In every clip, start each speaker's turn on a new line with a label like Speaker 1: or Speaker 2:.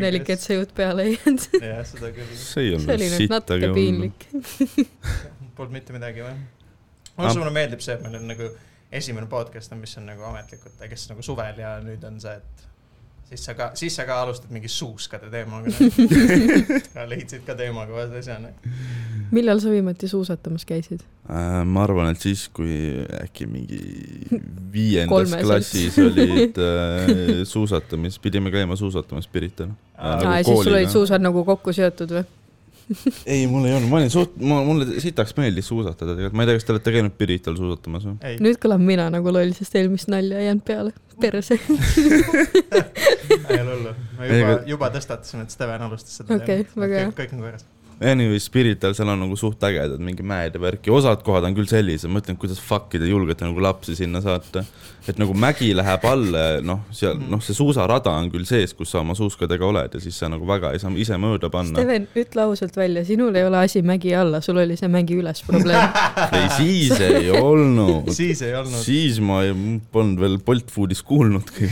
Speaker 1: õnnelik , et sa jutt peale ei jäänud .
Speaker 2: jah , seda küll .
Speaker 3: see ei
Speaker 1: see
Speaker 3: olnud
Speaker 1: oli nüüd
Speaker 3: sitt ,
Speaker 1: natuke
Speaker 3: aga .
Speaker 1: piinlik .
Speaker 2: Polnud mitte midagi või ? mulle mulle meeldib see , et meil on nagu esimene podcast on , mis on nagu ametlikult , kes nagu suvel ja nüüd on see , et siis sa ka , siis sa ka alustad mingi suuskade teemaga . leidsid ka teemaga vaata asja , onju .
Speaker 1: millal sa viimati suusatamas käisid ?
Speaker 3: Äh, ma arvan , et siis , kui äkki mingi viiendas
Speaker 1: Kolmeselt.
Speaker 3: klassis olid äh, suusatamis , pidime käima Äh, suusatamas Pirital .
Speaker 2: Nagu
Speaker 1: aa , ja siis sul olid suusad nagu kokku seotud või ?
Speaker 3: ei , mul ei olnud , ma olin suht- , mulle sitaks meeldis suusatada tegelikult , ma ei tea , kas te olete käinud Pirital suusatamas või ?
Speaker 2: ei ,
Speaker 1: nüüd kõlan mina nagu loll , sest eelmist nalja ei jäänud peale . perse .
Speaker 2: ei ole hullu . me juba , juba tõstatasime , et Steven alustas seda
Speaker 1: Okei, väga hea.
Speaker 2: Kõik- kõik on korras .
Speaker 3: Anyways , Spirital , seal on nagu suht ägedad mingi mäed ja värki , osad kohad on küll sellised , ma ütlen , kuidas fuck'i te julgete nagu lapsi sinna saata . et nagu mägi läheb alla ja noh , seal noh , see suusarada on küll sees , kus sa oma suuskadega oled ja siis sa nagu väga ei saa ise mööda panna .
Speaker 1: Steven , ütle ausalt välja , sinul ei ole asi mägi alla , sul oli see mägi üles probleem .
Speaker 3: ei , siis ei olnud ,
Speaker 2: siis ei olnud .
Speaker 3: siis ma ei polnud veel Bolt Foodis kuulnudki .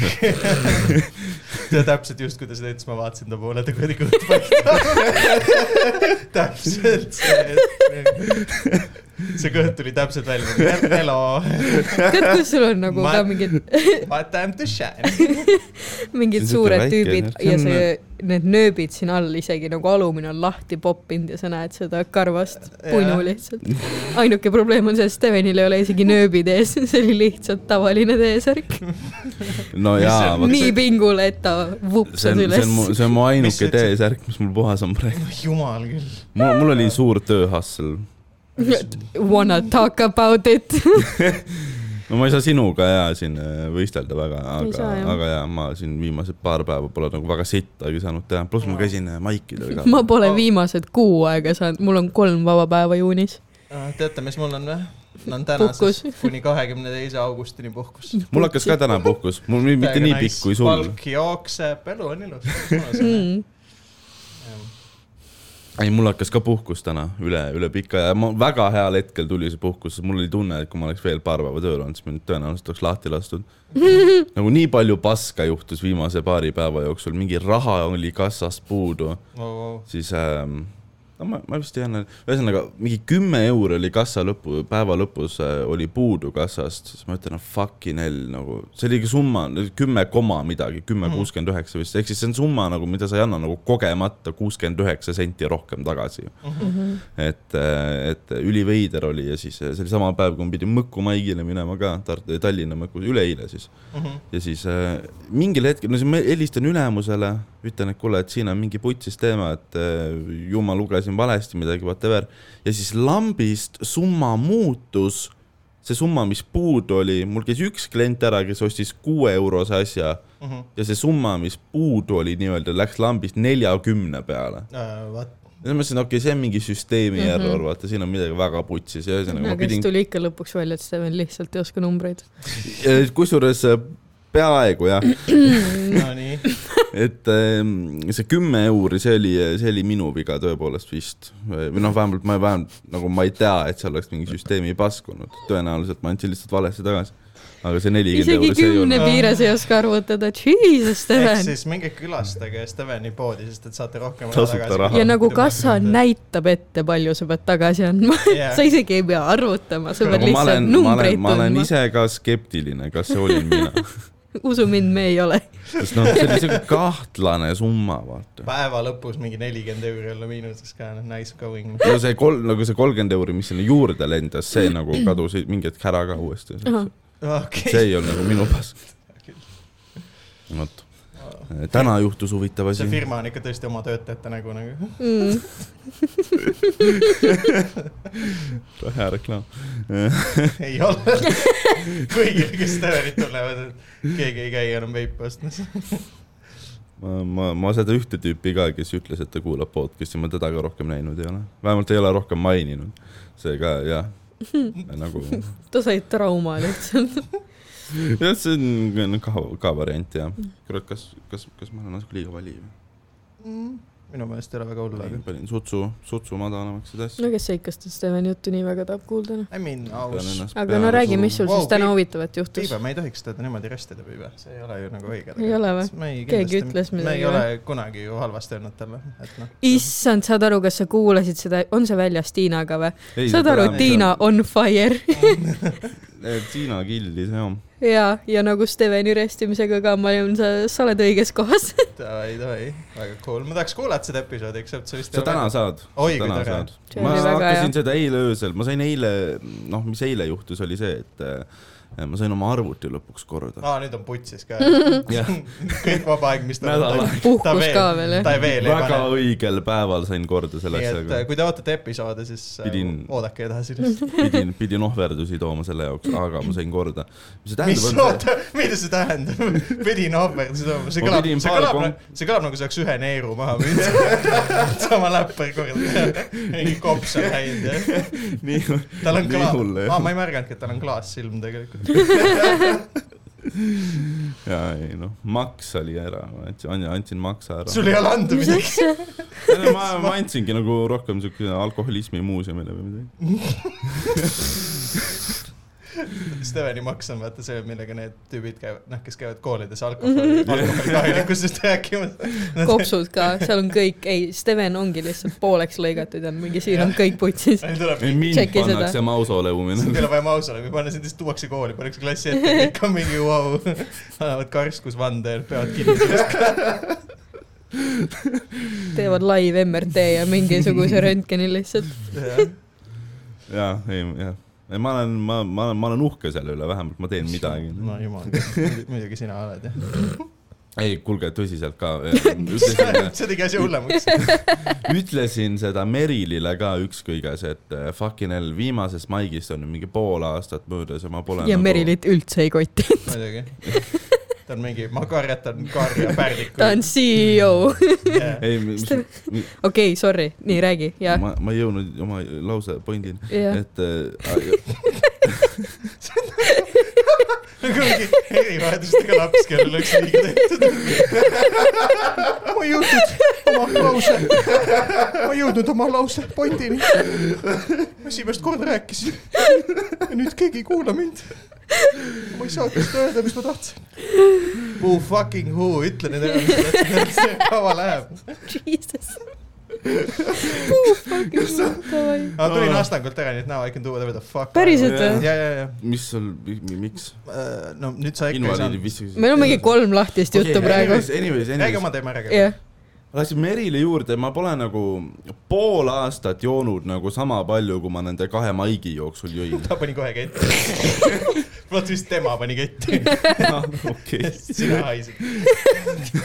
Speaker 2: ja täpselt just , kui ta seda ütles , ma vaatasin ta poole , ta kuidagi kõht paistab . täpselt see , see kõht tuli täpselt välja . Hello ,
Speaker 1: tead , kus sul on nagu
Speaker 2: Ma-
Speaker 1: ka mingid ,
Speaker 2: what time to shine .
Speaker 1: mingid
Speaker 3: See on
Speaker 1: suured
Speaker 3: sihuke
Speaker 1: tüübid
Speaker 3: väike,
Speaker 1: ja
Speaker 3: jah.
Speaker 1: see , need nööbid siin all isegi nagu alumine on lahti popinud ja sa näed seda karvast puinu
Speaker 2: Jah.
Speaker 1: lihtsalt . ainuke probleem on see , et Stevenil ei ole isegi nööbid ees , see oli lihtsalt tavaline T-särk .
Speaker 3: no jaa ,
Speaker 2: Mis-
Speaker 3: vot
Speaker 1: nii
Speaker 3: see
Speaker 1: pingule , et ta
Speaker 3: see
Speaker 1: vupsas
Speaker 3: on , see on mu ,
Speaker 1: üles .
Speaker 3: see on mu
Speaker 2: Mis sa
Speaker 3: ainuke
Speaker 2: ütlesid?
Speaker 3: T-särk , mis mul puhas on praegu .
Speaker 2: jumal küll .
Speaker 3: mul , mul oli suur tööhassel
Speaker 1: Wanna talk about it ?
Speaker 3: no ma ei saa sinuga ja siin äh, võistelda väga ,
Speaker 1: Ei
Speaker 3: aga
Speaker 1: saa, jah. ,
Speaker 3: aga ja ma siin viimased paar päeva pole nagu väga sittagi saanud teha , pluss ma käisin äh, maikidel ka .
Speaker 1: ma pole
Speaker 2: Oh.
Speaker 1: viimased kuu aega saanud , mul on kolm vaba päeva juunis .
Speaker 2: Ah, teate , mis mul on või ? mul on tänases
Speaker 1: Puhkus.
Speaker 2: kuni kahekümne teise augustini puhkus .
Speaker 3: mul hakkas ka täna puhkus , mul mi- mitte nii pikk kui sul . Mm.
Speaker 2: palk jookseb , elu on ilus .
Speaker 3: ei , mul hakkas ka puhkus täna üle , üle pika ja ma väga heal hetkel tuli see puhkus , mul oli tunne , et kui ma oleks veel paar päeva tööl olnud , siis mind tõenäoliselt oleks lahti lastud . nagu nii palju paska juhtus viimase paari päeva jooksul , mingi raha oli kassast puudu siis ähm, no ma , ma vist ei anna , ühesõnaga mingi kümme euri oli kassa lõpu , päeva lõpus äh, oli puudu kassast , siis ma ütlen , no fucking hell nagu , see oli ikka summa , kümme koma midagi , kümme kuuskümmend üheksa vist , ehk siis see on summa nagu , mida sa ei anna nagu kogemata kuuskümmend üheksa senti rohkem tagasi ju .
Speaker 2: Mhm,
Speaker 1: Mm.
Speaker 3: et , et üliveider oli ja siis äh, see oli sama päev , kui ma pidin Mõkku maigile minema ka , Tartu , Tallinna Mõkku , üleeile siis mm .
Speaker 2: mhm,
Speaker 3: -hmm. ja siis äh, mingil hetkel , no siis ma helistan ülemusele , ütlen , et kuule , et siin on mingi putsis teema , et äh, ju ma lugesin valesti midagi , whatever . ja siis lambist summa muutus , see summa , mis puudu oli , mul käis üks klient ära , kes ostis kuue eurose asja mm
Speaker 2: mhm.
Speaker 3: -hmm. ja see summa , mis puudu oli nii-öelda , läks lambist neljakümne peale
Speaker 2: vot ,
Speaker 3: ja siis ma mõtlesin , okei okay, , see on mingi süsteemi mm -hmm. error , vaata siin on midagi väga putsis ja ühesõnaga nagu ma
Speaker 1: aga siis
Speaker 3: pidin ,
Speaker 1: tuli ikka lõpuks välja , et Steven lihtsalt ei oska numbreid .
Speaker 3: kusjuures äh, peaaegu jah , Mm.
Speaker 2: nonii .
Speaker 3: et ähm, see kümme euri , see oli , see oli minu viga tõepoolest vist . või noh , vähemalt ma vähemalt nagu ma ei tea , et seal oleks mingi süsteemi paskunud , tõenäoliselt ma andsin lihtsalt valesti tagasi . aga see nelikümmend
Speaker 1: isegi
Speaker 3: euri , see ei
Speaker 1: kümne
Speaker 3: olnud .
Speaker 1: piires ei oska arvutada , jesus
Speaker 2: ehk
Speaker 1: Steven .
Speaker 2: siis minge külastage Steveni poodi , sest et saate rohkem
Speaker 3: Tasuta raha.
Speaker 1: ja nagu kassa . näitab ette , palju sa pead tagasi andma
Speaker 2: Jah.
Speaker 1: yeah. . sa isegi ei pea arvutama , sa pead
Speaker 3: aga ma
Speaker 1: lihtsalt
Speaker 3: olen , ma
Speaker 1: numbreid
Speaker 3: olen , ma olen
Speaker 1: tundma .
Speaker 3: ise ka skeptiline , kas see olin mina ,
Speaker 1: usu mind , me ei ole .
Speaker 3: sest noh , see oli siuke kahtlane summa , vaata .
Speaker 2: päeva lõpus mingi nelikümmend euri olla miinuses ka , noh nice going .
Speaker 3: no see kolm , nagu see kolmkümmend euri , mis sinna juurde lendas , see nagu kadus mingi hetk ära ka uuesti . see
Speaker 2: okei ,
Speaker 3: ei olnud nagu minu pask . vot , täna juhtus huvitav
Speaker 2: see
Speaker 3: asi .
Speaker 2: firma on ikka tõesti oma töötajate nägu nagu .
Speaker 1: Mm.
Speaker 3: hea reklaam .
Speaker 2: ei ole . kõigil , kes Stevenit tunnevad , et keegi ei käi enam veipi ostmas .
Speaker 3: ma , ma , ma seda ühte tüüpi ka , kes ütles , et ta kuulab podcast'i , ma teda ka rohkem näinud ei ole , vähemalt ei ole rohkem maininud . seega jah , nagu ,
Speaker 1: ta sai trauma lihtsalt .
Speaker 3: jah , see on ka , ka variant jah . kurat , kas , kas , kas ma olen natuke liiga vali või ?
Speaker 2: Mm, minu meelest ei ole väga hull , aga .
Speaker 3: panin sutsu , sutsu madalamaks ja asja .
Speaker 1: no kes see ikka seda Steveni juttu nii väga tahab kuulda , noh .
Speaker 2: I mean , aus .
Speaker 1: aga no räägi , mis sul
Speaker 2: Vau,
Speaker 1: siis täna
Speaker 2: Piip-
Speaker 1: huvitavat juhtus
Speaker 2: Piiba ,? ma ei tohiks teda niimoodi röstida , Piiba , see ei ole ju nagu õige .
Speaker 1: Ei ole või? Keegi ütles
Speaker 2: me
Speaker 1: midagi
Speaker 2: ei ole kunagi ju halvasti öelnud talle , et noh .
Speaker 1: issand , saad aru , kas sa kuulasid seda , on see väljas Tiinaga või ? saad aru , Tiina ? on fire
Speaker 3: Tiina killis jah .
Speaker 1: ja , ja nagu Steveni röstimisega ka , ma olin , sa , sa oled õiges kohas .
Speaker 2: davai , davai , väga cool , ma tahaks kuulata seda episoodi , except see vist
Speaker 3: sa täna saad .
Speaker 2: Oi, kui
Speaker 3: täna
Speaker 2: tore.
Speaker 3: saad
Speaker 1: See .
Speaker 3: ma
Speaker 1: oli väga
Speaker 3: hakkasin
Speaker 1: hea.
Speaker 3: seda eile öösel , ma sain eile , noh , mis eile juhtus , oli see , et äh, ma sain oma arvuti lõpuks korda .
Speaker 2: aa , nüüd on putsis ka .
Speaker 3: Jah.
Speaker 2: kõik vaba aeg , mis tal
Speaker 3: Nädal
Speaker 2: on .
Speaker 3: aega.
Speaker 1: Puhkus ka veel, jah.
Speaker 2: ta veel ei
Speaker 3: väga
Speaker 2: pane .
Speaker 3: õigel päeval sain korda selle
Speaker 2: nii et äh,
Speaker 3: asjaga .
Speaker 2: kui te ootate episoode , siis äh,
Speaker 3: Pidin-
Speaker 2: oodake edasi lihtsalt .
Speaker 3: pidin , pidin ohverdusi tooma selle jaoks , aga ma sain korda . mis see
Speaker 2: mis ,
Speaker 3: tähendab ,
Speaker 2: oota , mida see tähendab ? pidin ohverdusi tooma , see
Speaker 3: Ma
Speaker 2: kõlab
Speaker 3: pidin ,
Speaker 2: see
Speaker 3: paar
Speaker 2: kõlab
Speaker 3: kom- ,
Speaker 2: see kõlab nagu see oleks ühe neeru maha müünud . sama läppar korda , mingi kops on läinud ja
Speaker 3: et nii ,
Speaker 2: tal on
Speaker 3: Nii
Speaker 2: klaas ,
Speaker 3: hull ei
Speaker 2: aa ,
Speaker 3: ole.
Speaker 2: ma ei märganudki , et tal on klaassilm tegelikult .
Speaker 3: jaa , ei noh , maks oli ära , ma andsin , andsin maksa ära .
Speaker 2: sul ei ole anda
Speaker 1: mis
Speaker 2: midagi .
Speaker 1: asja ?
Speaker 3: ma , ma andsingi nagu rohkem siukene alkoholismi muuseumile või midagi .
Speaker 2: Steveni maks on vaata see , millega need tüübid käivad , noh , kes käivad koolides alkoholi , alkoholi kahjulikkusest rääkimas .
Speaker 1: kopsud ka , seal on kõik , ei , Steven ongi lihtsalt pooleks lõigatud ja on mingi siin on kõik putsis .
Speaker 2: Neil tuleb ,
Speaker 3: mind
Speaker 1: Tšeki seda.
Speaker 3: pannakse mausole
Speaker 2: neil
Speaker 3: uumine .
Speaker 2: tuleb vaja mausoleumi panna , siis lihtsalt tuuakse kooli , pannakse klassi ette , kõik on mingi vau wow. , annavad karskus vande ja peavad kinni .
Speaker 1: teevad live MRT ja mingisuguse röntgeni lihtsalt .
Speaker 3: jaa , ei , jah . ei , ma olen , ma , ma olen , ma olen uhke selle üle , vähemalt ma teen midagi
Speaker 2: no . jumal , muidugi sina oled jah .
Speaker 3: ei , kuulge , tõsiselt ka .
Speaker 2: see tegi asja hullemaks .
Speaker 3: ütlesin seda Merilile ka ükskõiges , et äh, fucking hell , viimasest maigist on nüüd mingi pool aastat möödas ja ma pole nagu-
Speaker 1: ja . Merilit üldse ei koti .
Speaker 2: muidugi . ta on mingi , ma karjatan karja
Speaker 1: ta on
Speaker 2: pärdikuid .
Speaker 1: CEO .
Speaker 2: Yeah.
Speaker 3: ei , mis ,
Speaker 1: okei , sorry , nii räägi , jah .
Speaker 3: ma , ma ei jõudnud oma lause pointini ,
Speaker 1: jah ,
Speaker 3: et äh,
Speaker 2: nagu mingi erivajadustega laps , kellel oleks liiga tehtud . ma ei jõudnud oma lause , ma ei jõudnud oma lause pointini . ma esimest korda rääkisin ja nüüd keegi ei kuula mind . ma ei saagi seda öelda , mis ma tahtsin . Who fucking who , ütle nüüd ära , mis see kava läheb .
Speaker 1: jesus . Who fucking knows, davai.
Speaker 2: ma tulin Astangult ära , nii et now I can do whatever the fuck .
Speaker 1: päriselt
Speaker 3: Jaa.
Speaker 1: või ?
Speaker 2: ja , ja , ja ,
Speaker 3: mis sul , miks ?
Speaker 2: no nüüd sa ikka ei
Speaker 3: invaliidi
Speaker 2: saanud .
Speaker 3: vist .
Speaker 1: meil on mingi kolm lahtist juttu praegu .
Speaker 3: Anyways , anyways ,
Speaker 2: räägi
Speaker 3: anyways ,
Speaker 2: oma teema , räägi .
Speaker 1: jah ,
Speaker 3: lasin Merile juurde , ma pole nagu pool aastat joonud nagu sama palju , kui ma nende kahe maigi jooksul jõin .
Speaker 2: ta pani kohe ketti . vot vist tema pani ketti .
Speaker 3: Noh, okei ,
Speaker 2: sina haisid .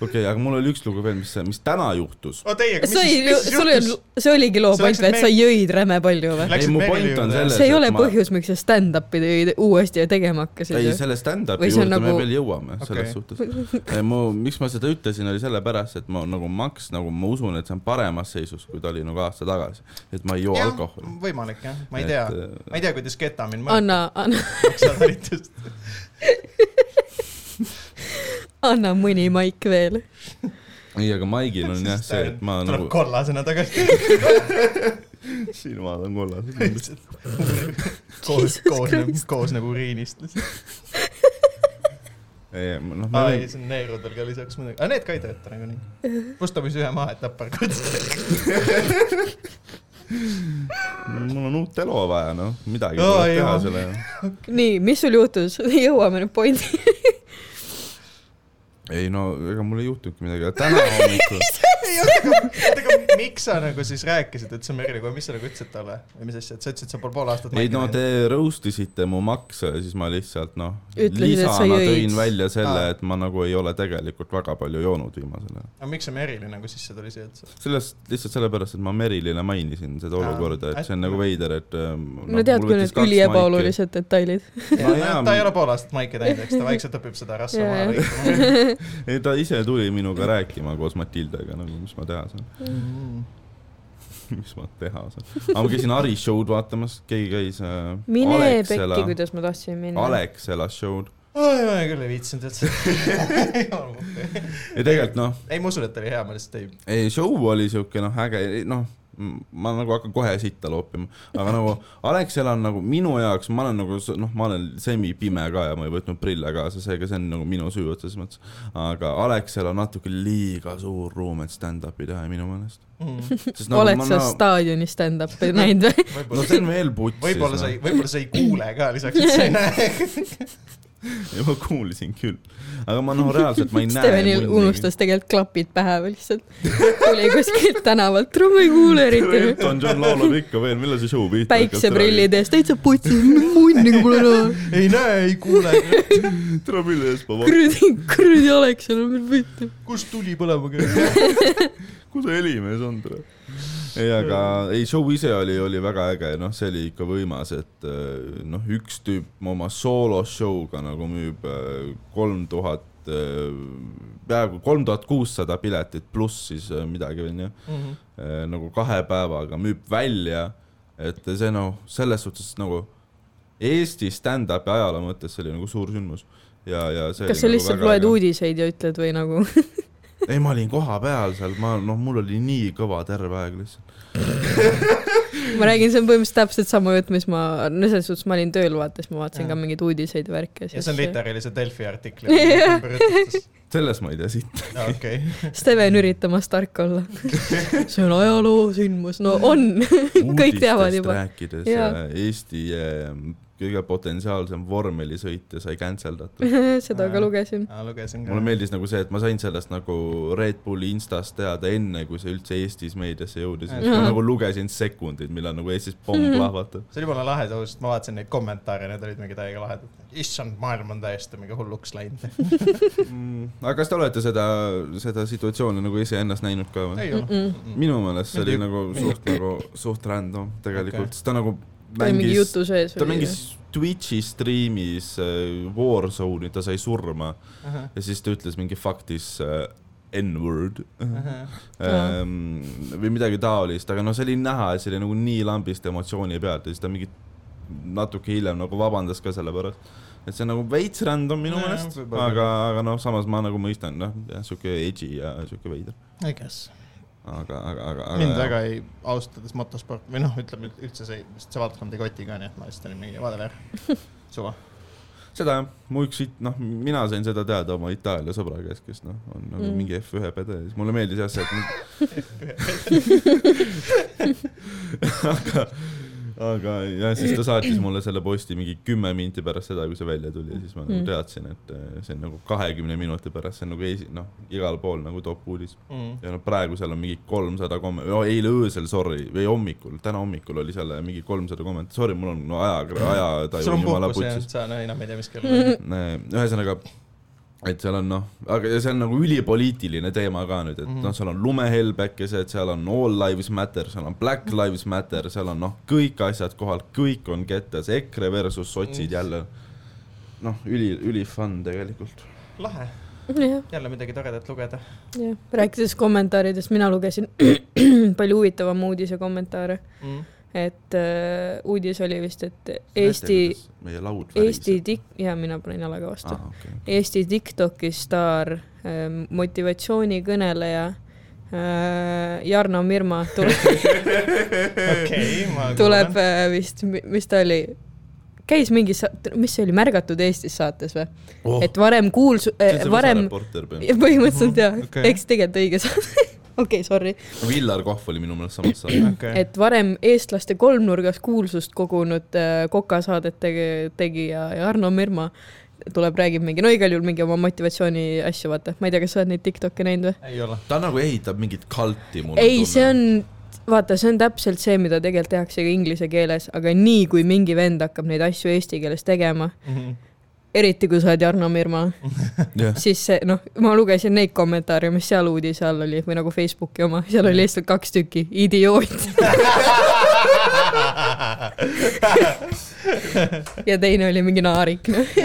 Speaker 3: okei , aga mul oli üks lugu veel , mis , mis täna juhtus .
Speaker 2: oota ei , aga mis
Speaker 1: sa ei , sul ei olnud , see oligi loo
Speaker 2: Sa
Speaker 1: point
Speaker 2: läksid
Speaker 1: või , et sa jõid räme palju või ?
Speaker 2: Läksid
Speaker 3: ei , mu
Speaker 2: Merile
Speaker 3: point on
Speaker 2: juurde,
Speaker 3: selles ,
Speaker 1: see ei ole põhjus , miks sa stand-up'i tõid- uuesti tegema hakkasid
Speaker 3: ei ,
Speaker 1: ju .
Speaker 3: selle stand-up'i
Speaker 1: Või see
Speaker 3: juurde
Speaker 1: on
Speaker 3: me
Speaker 1: nagu-
Speaker 3: veel jõuame okay. selles
Speaker 2: Okei.
Speaker 3: suhtes . mu , miks ma seda ütlesin , oli sellepärast , et ma nagu maks , nagu ma usun , et see on paremas seisus , kui ta oli nagu aasta tagasi , et ma ei joo alkoholi .
Speaker 2: võimalik jah , ma ei tea ,
Speaker 3: äh,
Speaker 2: ma ei tea , kuidas ketamin mõjub
Speaker 1: anna , anna ,
Speaker 2: maksatalitust .
Speaker 1: anna mõni maik veel .
Speaker 3: ei , aga Maigil on jah see , et ma
Speaker 2: äh, tuleb
Speaker 3: nagu
Speaker 2: kollasena tagasi .
Speaker 3: silmad on kollased .
Speaker 2: koos
Speaker 1: Jesus ,
Speaker 2: koosneb
Speaker 1: Christ. ,
Speaker 2: koosneb uriinist lihtsalt .
Speaker 3: ei , noh , ma
Speaker 2: aa
Speaker 3: võin
Speaker 2: ei , see on neerudel ka lisaks muidugi , aga need ka ei tööta nagunii . Pustamis ühe maha , et tappa kutsub .
Speaker 3: mul on uut elu vaja , noh , midagi
Speaker 2: Aa,
Speaker 3: tuleb teha
Speaker 2: jaa.
Speaker 3: selle .
Speaker 1: nii , mis sul juhtus ? jõuame nüüd pointi .
Speaker 3: ei no , ega mul ei juhtunudki midagi , aga täna hommikul ,
Speaker 2: aga miks sa nagu siis rääkisid , et see on Merile kohe , mis sa nagu ütlesid talle või mis asja , et sa ütlesid , et sa pole pool aastat
Speaker 3: ei no te roast isite mu makse ja siis ma lihtsalt noh ,
Speaker 1: Ütlesid, et sa
Speaker 3: lisana
Speaker 1: jõid.
Speaker 3: tõin välja selle
Speaker 2: Aa. ,
Speaker 3: et ma nagu ei ole tegelikult väga palju joonud viimasel ajal .
Speaker 2: aga miks see Merile nagu sisse tuli siia , et sa
Speaker 3: sellest , lihtsalt sellepärast , et ma Merilile mainisin seda
Speaker 2: Aa.
Speaker 3: olukorda , et see on nagu veider , et ähm,
Speaker 1: no tead , kui need üliebaolulised detailid .
Speaker 3: No
Speaker 2: Ja,
Speaker 3: jaa,
Speaker 2: ta ei ole pool aastat maike teinud , eks ta vaikselt õpib seda rasva
Speaker 1: Jaa, jaa.
Speaker 2: maha lõikama .
Speaker 3: ei , ta ise tuli minuga rääkima koos Matildaga , nagu mis ma teha saan , mis ma teha saan . aga ma käisin Ari show'd vaatamas , keegi käis äh,
Speaker 1: mine pekki
Speaker 3: Alexela ,,
Speaker 1: kuidas ma tahtsin minna .
Speaker 3: Alexela show'd .
Speaker 2: oi , ma küll ei viitsinud üldse .
Speaker 3: ja tegelikult noh ,
Speaker 2: ei , ma usun , et ta oli hea , ma lihtsalt ei .
Speaker 3: ei show oli siuke noh , äge , noh , ma nagu hakkan kohe sitta loopima , aga nagu Alexel on nagu minu jaoks , ma olen nagu s- noh , ma olen semipime ka ja ma ei võtnud prille kaasa , seega see on nagu minu süü otseses mõttes . aga Alexel on natuke liiga suur ruum , et stand-up'i teha minu meelest .
Speaker 2: Mm.
Speaker 3: nagu
Speaker 1: oled sa staadioni stand-up'i näinud või ?
Speaker 3: no see on veel putsis . noh.
Speaker 2: võib-olla sa ei , võib-olla sa ei kuule ka lisaks , et sa ei näe .
Speaker 3: ja ma kuulsin küll , aga ma noh , reaalselt ma ei näe .
Speaker 1: Stevenil unustas tegelikult klapid pähe või lihtsalt tuli kuskilt tänavalt , ma ei kuule eriti .
Speaker 3: Elton John laulab ikka veel , millal see show pihta
Speaker 1: päikseprillid ees , täitsa putsis , munni kui pole näha .
Speaker 2: ei näe , ei kuule ,
Speaker 3: tule mille eest ma vaatan ,
Speaker 1: kuradi , kuradi Alexel on veel võitnud .
Speaker 2: kust tuli põlema käib .
Speaker 3: kus see helimees on tule . ei , aga ei , show ise oli , oli väga äge , noh , see oli ikka võimas , et eh, noh , üks tüüp oma soolo-show'ga nagu müüb kolm tuhat , peaaegu kolm tuhat kuussada piletit pluss siis eh, midagi onju
Speaker 2: Mhm.
Speaker 3: eh, nagu kahe päevaga müüb välja , et see noh , selles suhtes nagu Eesti stand-up'i ajaloo mõttes see oli nagu suur sündmus ja , ja see
Speaker 1: kas sa
Speaker 3: oli nagu
Speaker 1: lihtsalt loed ? uudiseid ja ütled või nagu ?
Speaker 3: ei , ma olin kohapeal seal , ma noh , mul oli nii kõva terve aeg lihtsalt .
Speaker 1: ma räägin , see on põhimõtteliselt täpselt sama jutt , mis ma , no selles suhtes ma olin tööl , vaata , siis ma vaatasin
Speaker 2: Jaa.
Speaker 1: ka mingeid uudiseid ja värke .
Speaker 2: ja see on . literaalse Delfi artikli
Speaker 1: Jah.
Speaker 2: ümber ütlustes .
Speaker 3: selles ma ei tea siit .
Speaker 2: okei .
Speaker 1: Steven üritamas tark olla . see on ajaloosündmus , no on , kõik teavad juba .
Speaker 3: rääkides ja.
Speaker 1: Jaa.
Speaker 3: Eesti eh, kõige potentsiaalsem vormelisõitja sai cancel datud .
Speaker 1: seda
Speaker 2: Aa.
Speaker 1: ka lugesin .
Speaker 2: ma lugesin ka
Speaker 3: mulle . meeldis nagu see , et ma sain sellest nagu Red Bulli Instas teada enne , kui see üldse Eestis meediasse jõudis , et ma
Speaker 1: Ahah.
Speaker 3: nagu lugesin sekundeid , millal nagu Eestis
Speaker 1: Mhm.
Speaker 3: pomm plahvatab .
Speaker 2: see oli jumala lahe tõus , ma vaatasin neid kommentaare , need olid mingi täiega lahedad . issand , maailm on täiesti mingi hulluks läinud .
Speaker 3: Mm, aga kas te olete seda , seda situatsiooni nagu iseennast näinud ka või ?
Speaker 2: ei ole .
Speaker 3: minu meelest see oli nagu suht nagu , suht random tegelikult , sest ta nagu
Speaker 1: mingi
Speaker 3: mängis ,
Speaker 1: jutu sees .
Speaker 3: ta mängis . Twitch'i striimis äh, Warzone'i , ta sai surma
Speaker 1: Uh-huh.
Speaker 3: ja siis ta ütles mingi faktis äh, N-word
Speaker 1: Uh-huh.
Speaker 3: ähm, või midagi taolist , aga noh , see oli näha , et see oli nagu nii lambist emotsiooni pealt ja siis ta mingi natuke hiljem nagu vabandas ka selle pärast . et see on nagu veits random minu
Speaker 2: Nojah,
Speaker 3: meelest ,
Speaker 2: võib-olla.
Speaker 3: aga , aga noh , samas ma nagu mõistan , noh , jah , sihuke edgy ja sihuke veider ,
Speaker 2: I guess .
Speaker 3: aga , aga , aga .
Speaker 2: mind väga ei , ausalt öeldes motosport või noh , ütleme üldse see , see valdkond ei koti ka , nii et ma lihtsalt olin mingi , vaadake , suva .
Speaker 3: seda jah , mu üks , noh , mina sain seda teada oma Itaalia sõbra käest , kes noh , on nagu mm.
Speaker 1: Mm.
Speaker 3: mingi F1 pede ja siis mulle meeldis jah see , et aga , aga jah , siis ta saatis mulle selle posti mingi kümme minti pärast seda , kui see välja tuli ja siis ma mm.
Speaker 1: Mm.
Speaker 3: teadsin , et eh, see on nagu kahekümne minuti pärast , see on nagu esi- , noh , igal pool nagu top uudis .
Speaker 1: Mm.
Speaker 3: ja noh , praegu seal on mingi kolmsada kom- , eile öösel , sorry , või hommikul , täna hommikul oli seal mingi kolmsada kommentaari , sorry , mul on no, aja ,
Speaker 2: sul
Speaker 3: ajataju
Speaker 2: on
Speaker 3: jumala
Speaker 2: puhkus jah
Speaker 3: putsis ,.
Speaker 2: sa no, enam ei tea , mis kell on .
Speaker 1: Mm.
Speaker 3: Nee, Äh, ühesõnaga , et seal on noh , aga ja see on nagu ülipoliitiline teema ka nüüd , et mm
Speaker 2: Mhm.
Speaker 3: -hmm. noh , seal on lumehelbekesed , seal on all lives matter , seal on
Speaker 1: Mhm.
Speaker 3: black lives matter , seal on noh , kõik asjad kohal , kõik on kettes , EKRE versus sotsid
Speaker 2: Mhm.
Speaker 3: jälle . noh , üli , üli fun tegelikult .
Speaker 2: lahe ,
Speaker 1: jah ,
Speaker 2: jälle midagi toredat lugeda .
Speaker 1: jah , rääkides kommentaaridest , mina lugesin palju huvitavama uudise kommentaare ,
Speaker 2: Mm.
Speaker 1: et uh, uudis oli vist , et Eesti ,
Speaker 3: meie laud .
Speaker 1: Eesti . tik- , jaa , mina panen jalaga vastu
Speaker 3: Ah, okay.
Speaker 1: Eesti Tiktoki staar , motivatsioonikõneleja äh, Jarno Mirma tuleb ,
Speaker 2: okei , ma .
Speaker 1: tuleb . äh, vist , mis ta oli , käis mingis , mis see oli , Märgatud Eestis saates või ?
Speaker 3: oh,
Speaker 1: Eh, et varem kuulsu- , varem , põhimõtteliselt jaa ,
Speaker 2: Okei.
Speaker 1: eks tegelikult õige saade , okei , sorry .
Speaker 3: Villar Kohv oli minu meelest samas saates .
Speaker 2: okei ,
Speaker 1: et varem eestlaste kolmnurgas kuulsust kogunud äh, kokasaadet tege- tegija Arno Mirma tuleb , räägib mingi , no igal juhul mingi oma motivatsiooni asju , vaata , ma ei tea , kas sa oled neid Tiktoke näinud või ?
Speaker 2: ei ole .
Speaker 3: ta nagu ehitab mingit kalti mulle .
Speaker 1: ei , see on , vaata , see on täpselt see , mida tegelikult tehakse ka inglise keeles , aga nii kui mingi vend hakkab neid asju eesti keeles tegema ,
Speaker 2: Mm-hmm.
Speaker 1: eriti kui sa oled Jarno Mirma ,
Speaker 3: jah ,
Speaker 1: siis see , noh , ma lugesin neid kommentaare , mis seal uudise all oli või nagu Facebooki oma , seal oli lihtsalt kaks tükki , idioot ja teine oli mingi naarik , noh .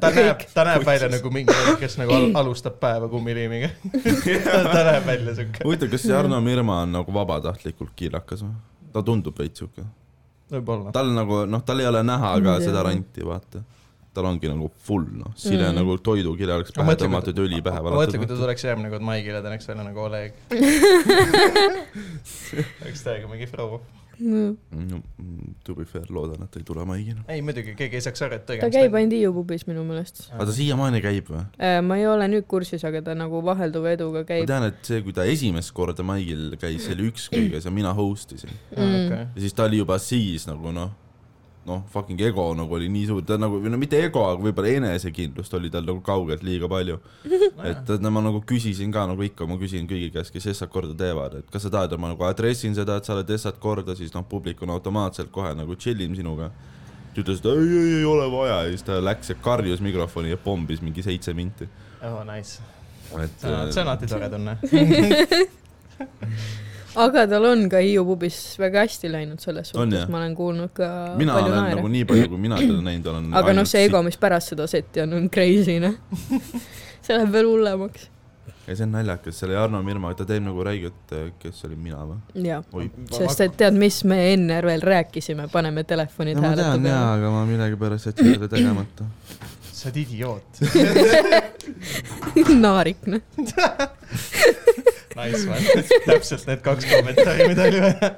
Speaker 2: ta näeb , ta näeb välja nagu mingi , kes nagu al- alustab päeva kummiliimiga . ta näeb välja siuke .
Speaker 3: huvitav , kas Jarno Mirma on nagu vabatahtlikult kiilakas või ? ta tundub veits siuke .
Speaker 2: võib-olla .
Speaker 3: tal nagu noh , tal ei ole näha ka
Speaker 1: Ma ei tea.
Speaker 3: seda ranti , vaata . tal ongi nagu full noh , sile
Speaker 1: Mm.
Speaker 3: mm. nagu toidukirja oleks pähe tõmmatud , õli pähe noh.
Speaker 2: mõtle , kui ta tuleks järgmine kord Maigile , ta näeks välja nagu Oleg . oleks täiega mingi Frau .
Speaker 3: No, mm, to be fair , loodan , et ei tule noh. maigina .
Speaker 2: ei muidugi , keegi ei saaks aru , et
Speaker 1: ta käib ainult Hiiu pubis minu meelest .
Speaker 3: aga ta siiamaani käib või ?
Speaker 1: ma ei ole nüüd kursis , aga ta nagu vahelduva eduga
Speaker 3: ma
Speaker 1: käib .
Speaker 3: tean , et see , kui ta esimest korda maigil käis , see oli ükskõik ja seal mina host isin .
Speaker 1: Mm.
Speaker 2: ainult .
Speaker 3: ja siis ta oli juba siis nagu noh , noh , fucking ego nagu oli nii suur , ta nagu , või no mitte ego , aga võib-olla enesekindlust oli tal nagu kaugelt liiga palju . et no ma nagu küsisin ka nagu ikka , ma küsin kõigi käest , kes Essat korda teevad , et kas sa tahad , et ma nagu adressin seda , et sa oled Essat korda , siis noh , publik on automaatselt kohe nagu chill im sinuga . ta ütles , et ei , ei , ei ole vaja ja siis ta läks ja karjus mikrofoni ja pommis mingi seitse minti .
Speaker 2: oh nice ,
Speaker 3: et
Speaker 2: see on see on alati tore tunne .
Speaker 1: aga tal on ka Hiiu pubis väga hästi läinud selles
Speaker 3: On,
Speaker 1: suhtes
Speaker 3: jah. ,
Speaker 1: ma olen kuulnud ka
Speaker 3: mina
Speaker 1: palju
Speaker 3: olen naere.
Speaker 1: naere
Speaker 3: nagu . nii palju , kui mina teda näinud olen .
Speaker 1: aga noh , see ego , mis pärast seda setti on , on crazy , noh . see läheb veel hullemaks .
Speaker 3: ja see on naljakas , selle Arno Mirma , ta teeb nagu räiget , kes see olin mina või ?
Speaker 1: jaa ,
Speaker 3: oi ,
Speaker 1: sest et tead , mis me enne veel rääkisime , paneme telefonid
Speaker 3: no ma
Speaker 1: hääletu
Speaker 3: tean jaa , aga ma millegipärast jätsin selle tegemata .
Speaker 2: sa oled idioot .
Speaker 1: peale . naarik , noh .
Speaker 2: Nice man , täpselt need kaks kommentaari , mida oli vaja .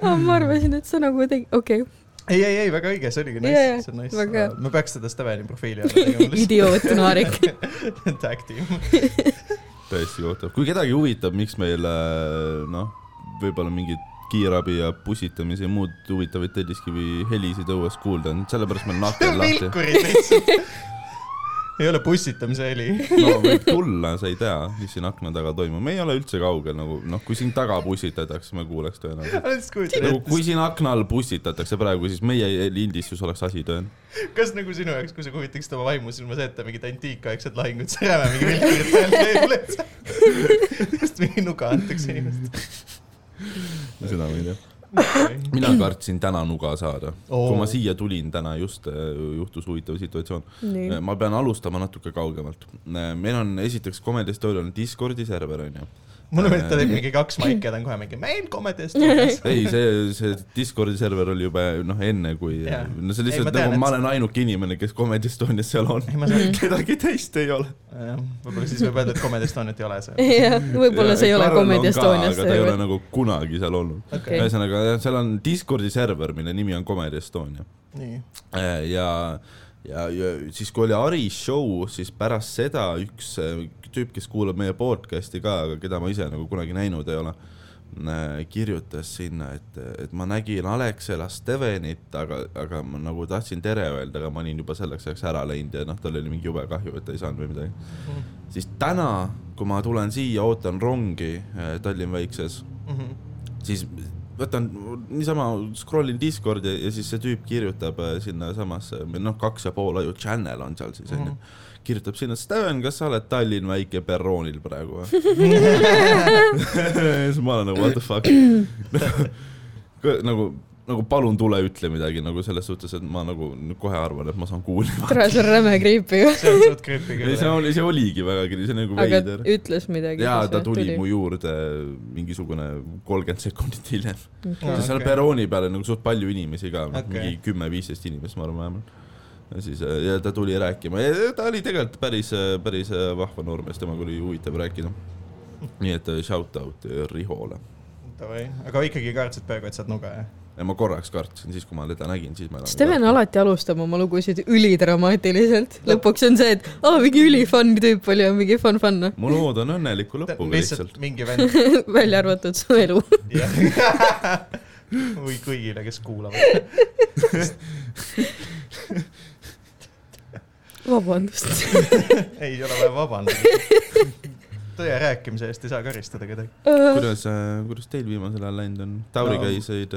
Speaker 1: Ah, ma arvasin , et sa nagu tegi- , okei okay. ,
Speaker 2: ei , ei , ei , väga õige , see oligi nice
Speaker 1: Jajah,
Speaker 2: yeah, , see on nice
Speaker 1: väga hea. .
Speaker 2: ma peaks seda Steveni profiili alla tegema
Speaker 1: idioot , naarik .
Speaker 2: lihtsalt . Tag team .
Speaker 3: täiesti kohutav , kui kedagi huvitab , miks meil äh, noh , võib-olla mingid kiirabi ja pussitamise ja muud huvitavaid telliskivi helisid õues kuulda on , sellepärast meil on aken lahti .
Speaker 2: vilkurid lihtsalt . ei ole pussitamise heli .
Speaker 3: no võib tulla , sa ei tea , mis siin akna taga toimub , me ei ole üldse kaugel nagu noh , kui siin taga pussitatakse , me kuuleks tõenäoliselt .
Speaker 2: ma lihtsalt kujutan
Speaker 3: nagu
Speaker 2: ette ,
Speaker 3: kui siin akna all pussitatakse praegu , siis meie lindistus oleks asi tõenäoliselt .
Speaker 2: kas nagu sinu jaoks , kui sa kujutaksid oma vaimusilmas ette mingit antiikaegset lahingut , sa jääme mingi vilkurid peal käib lihtsalt . just mingi nuga antakse inimestele .
Speaker 3: seda ma ei tea . mina kartsin täna nuga saada oh. .
Speaker 2: Oo.
Speaker 3: kui ma siia tulin täna just äh, juhtus huvitav situatsioon .
Speaker 1: nii ,
Speaker 3: ma pean alustama natuke kaugemalt . meil on esiteks Comedy Estonian Discordi server onju .
Speaker 2: mulle meeldib , ta teeb mingi kaks maiki ja ta on kohe mingi meil komedest . ei ,
Speaker 3: ei , see , see Discordi server oli juba noh , enne kui
Speaker 2: Jaa.
Speaker 3: no see
Speaker 2: Ei, ma
Speaker 3: lihtsalt
Speaker 2: tean,
Speaker 3: nagu
Speaker 2: et
Speaker 3: ma
Speaker 2: see-
Speaker 3: olen ainuke inimene , kes Comedy Estonias seal on .
Speaker 2: ma saan ,
Speaker 3: kedagi teist ei ole .
Speaker 2: võib-olla siis võib öelda , et Comedy Estoniat ei ole seal .
Speaker 1: jah , võib-olla see ei ole Comedy Estonias
Speaker 3: ta ei ole nagu kunagi seal olnud .
Speaker 1: Okei.
Speaker 3: ühesõnaga , seal on Discordi server , mille nimi on Comedy Estonia .
Speaker 2: nii ,
Speaker 3: Äh, ja , ja , ja siis , kui oli Ari show , siis pärast seda üks äh, tüüp , kes kuulab meie podcast'i ka , aga keda ma ise nagu kunagi näinud ei ole , kirjutas sinna , et , et ma nägin Alexela Stevenit , aga , aga ma nagu tahtsin tere öelda , aga ma olin juba selleks ajaks ära läinud ja noh , tal oli mingi jube kahju , et ta ei saanud või midagi . siis täna , kui ma tulen siia , ootan rongi äh, Tallinn Väikses
Speaker 2: Mhm.
Speaker 3: siis võtan niisama , scroll in Discordi ja siis see tüüp kirjutab äh, sinnasamasse , noh , kaks ja pool aju channel on seal siis
Speaker 2: Mhm.
Speaker 3: onju , kirjutab sinna , Steven , kas sa oled Tallinn väike perroonil praegu või ? siis ma olen nagu what the fuck . nagu , nagu palun tule ütle midagi nagu selles suhtes , et ma nagu kohe arvan , et ma saan kuulima .
Speaker 1: tere , see on räme creepy ju .
Speaker 2: see on suht creepy
Speaker 3: ei , see
Speaker 2: küll .
Speaker 3: oli , see oligi väga , see oli nagu
Speaker 1: aga
Speaker 3: veider .
Speaker 1: ütles midagi .
Speaker 3: jaa , ta tuli, tuli mu juurde mingisugune kolmkümmend sekundit hiljem .
Speaker 2: Aa,
Speaker 3: ja seal
Speaker 2: okei.
Speaker 3: perrooni peal on nagu suht palju inimesi ka okay. ,
Speaker 2: Okei.
Speaker 3: mingi kümme-viisteist inimest , ma arvan vähemalt . ja siis äh, ja ta tuli rääkima ja ta oli tegelikult päris , päris äh, vahva noormees , temaga oli huvitav rääkida . nii et äh, shout out äh, Rihole .
Speaker 2: Davai , aga ikkagi kartsid peaaegu , et saad nuga , jah ?
Speaker 3: ja ma korraks kartsin , siis kui ma teda nägin , siis ma .
Speaker 1: Steven . alati alustab oma lugusid ülidramaatiliselt , lõpuks on see , et aa , mingi ülifunn tüüp oli ja mingi fun fun , noh .
Speaker 3: mu lood on õnneliku lõpuga lihtsalt .
Speaker 2: lihtsalt mingi vend ,
Speaker 1: välja arvatud su elu .
Speaker 2: jah . või kõigile , kes kuulavad .
Speaker 1: vabandust .
Speaker 2: ei ole vaja vabandada . tõe rääkimise eest ei saa karistada kedagi .
Speaker 1: Äh,
Speaker 3: kuidas , kuidas teil viimasel ajal läinud on ? Tauri
Speaker 2: No.
Speaker 3: käisid ,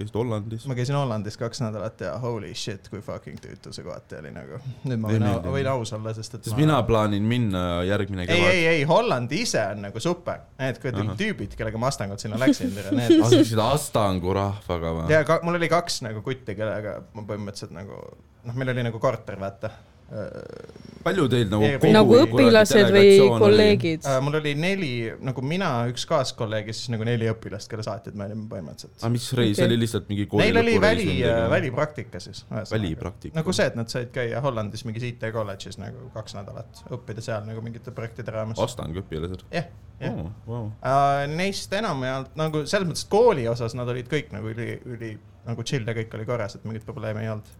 Speaker 3: käisid Hollandis .
Speaker 2: ma käisin Hollandis kaks nädalat ja holy shit , kui fucking tüütu see kohati oli nagu . nüüd ma
Speaker 3: Ei
Speaker 2: võin,
Speaker 3: meeldi.
Speaker 2: võin aus olla , sest et
Speaker 3: sest mina plaanin minna järgmine
Speaker 2: ei ,
Speaker 3: kevad .
Speaker 2: ei , ei , Holland ise on nagu super . Need kuradi
Speaker 3: Ahah.
Speaker 2: tüübid , kellega ma Astangut sinna läksin , need
Speaker 3: asusid Astangu rahvaga või ?
Speaker 2: ja ka, mul oli kaks nagu kutti , kellega ma põhimõtteliselt nagu noh , meil oli nagu korter , vaata .
Speaker 3: palju teil nagu
Speaker 2: Ei,
Speaker 3: kogu
Speaker 1: nagu
Speaker 2: Kogu-
Speaker 1: õpilased või ? kolleegid
Speaker 2: Äh, mul oli neli , nagu mina , üks kaaskolleeg ja siis nagu neli õpilast , kelle saatjad me olime põhimõtteliselt .
Speaker 3: aga mis reis , see oli lihtsalt mingi kooli
Speaker 2: Neil oli
Speaker 3: lõpureis
Speaker 2: väli
Speaker 3: või midagi, , või?
Speaker 2: välipraktika siis .
Speaker 3: Välipraktika.
Speaker 2: nagu see , et nad said käia Hollandis mingis IT kolledžis nagu kaks nädalat , õppida seal nagu mingite projektide raames .
Speaker 3: Astangi õpilased .
Speaker 2: jah , jah .
Speaker 3: vau .
Speaker 2: Äh, Neist enamjaolt nagu selles mõttes , et kooli osas nad olid kõik nagu üli , üli nagu chill ja kõik oli korras , et mingit probleemi ei olnud .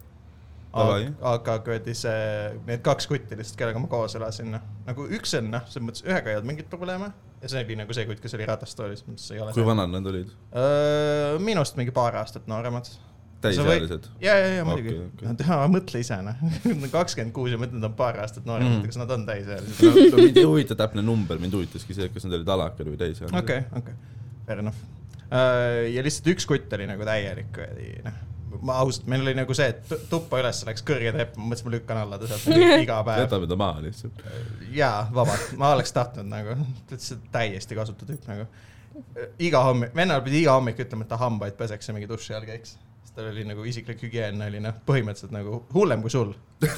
Speaker 3: Davai.
Speaker 2: aga, aga kuradi see , need kaks kutti lihtsalt , kellega ma koos elasin , noh , nagu üks on noh , selles mõttes ühega ei olnud mingeid probleeme ja see oli nagu see kutt , kes oli ratastoolis , mis ei ole Äh,
Speaker 3: kui . vanad nad olid ?
Speaker 2: minust mingi paar aastat nooremad .
Speaker 3: täisealised ?
Speaker 2: ja , ja , ja muidugi
Speaker 3: Okei, okei.
Speaker 2: okay, , okay. mõtle ise noh , kakskümmend kuus ja mõtled , nad on paar aastat nooremad
Speaker 3: Mm.
Speaker 2: mm. , kas nad on täisealised ?
Speaker 3: mind ei huvita täpne number , mind huvitaski see , kas nad olid alakad või täisealised .
Speaker 2: okei , okei , fair enough . ja lihtsalt üks kutt oli nagu täielik kuradi , noh , ma ausalt , meil oli nagu see , et tu- tuppa üles läks kõrge trepp , ma mõtlesin , ma lükkan alla ta sealt iga päev .
Speaker 3: jätame ta maha lihtsalt .
Speaker 2: jaa , vabalt , ma oleks tahtnud nagu , ta ütles , et täiesti kasutu tüüp nagu . iga hommik , vennal pidi iga hommik ütlema , et ta hambaid peseks ja mingi duši all käiks . sest tal oli nagu isiklik hügieen oli noh , põhimõtteliselt nagu hullem kui sul .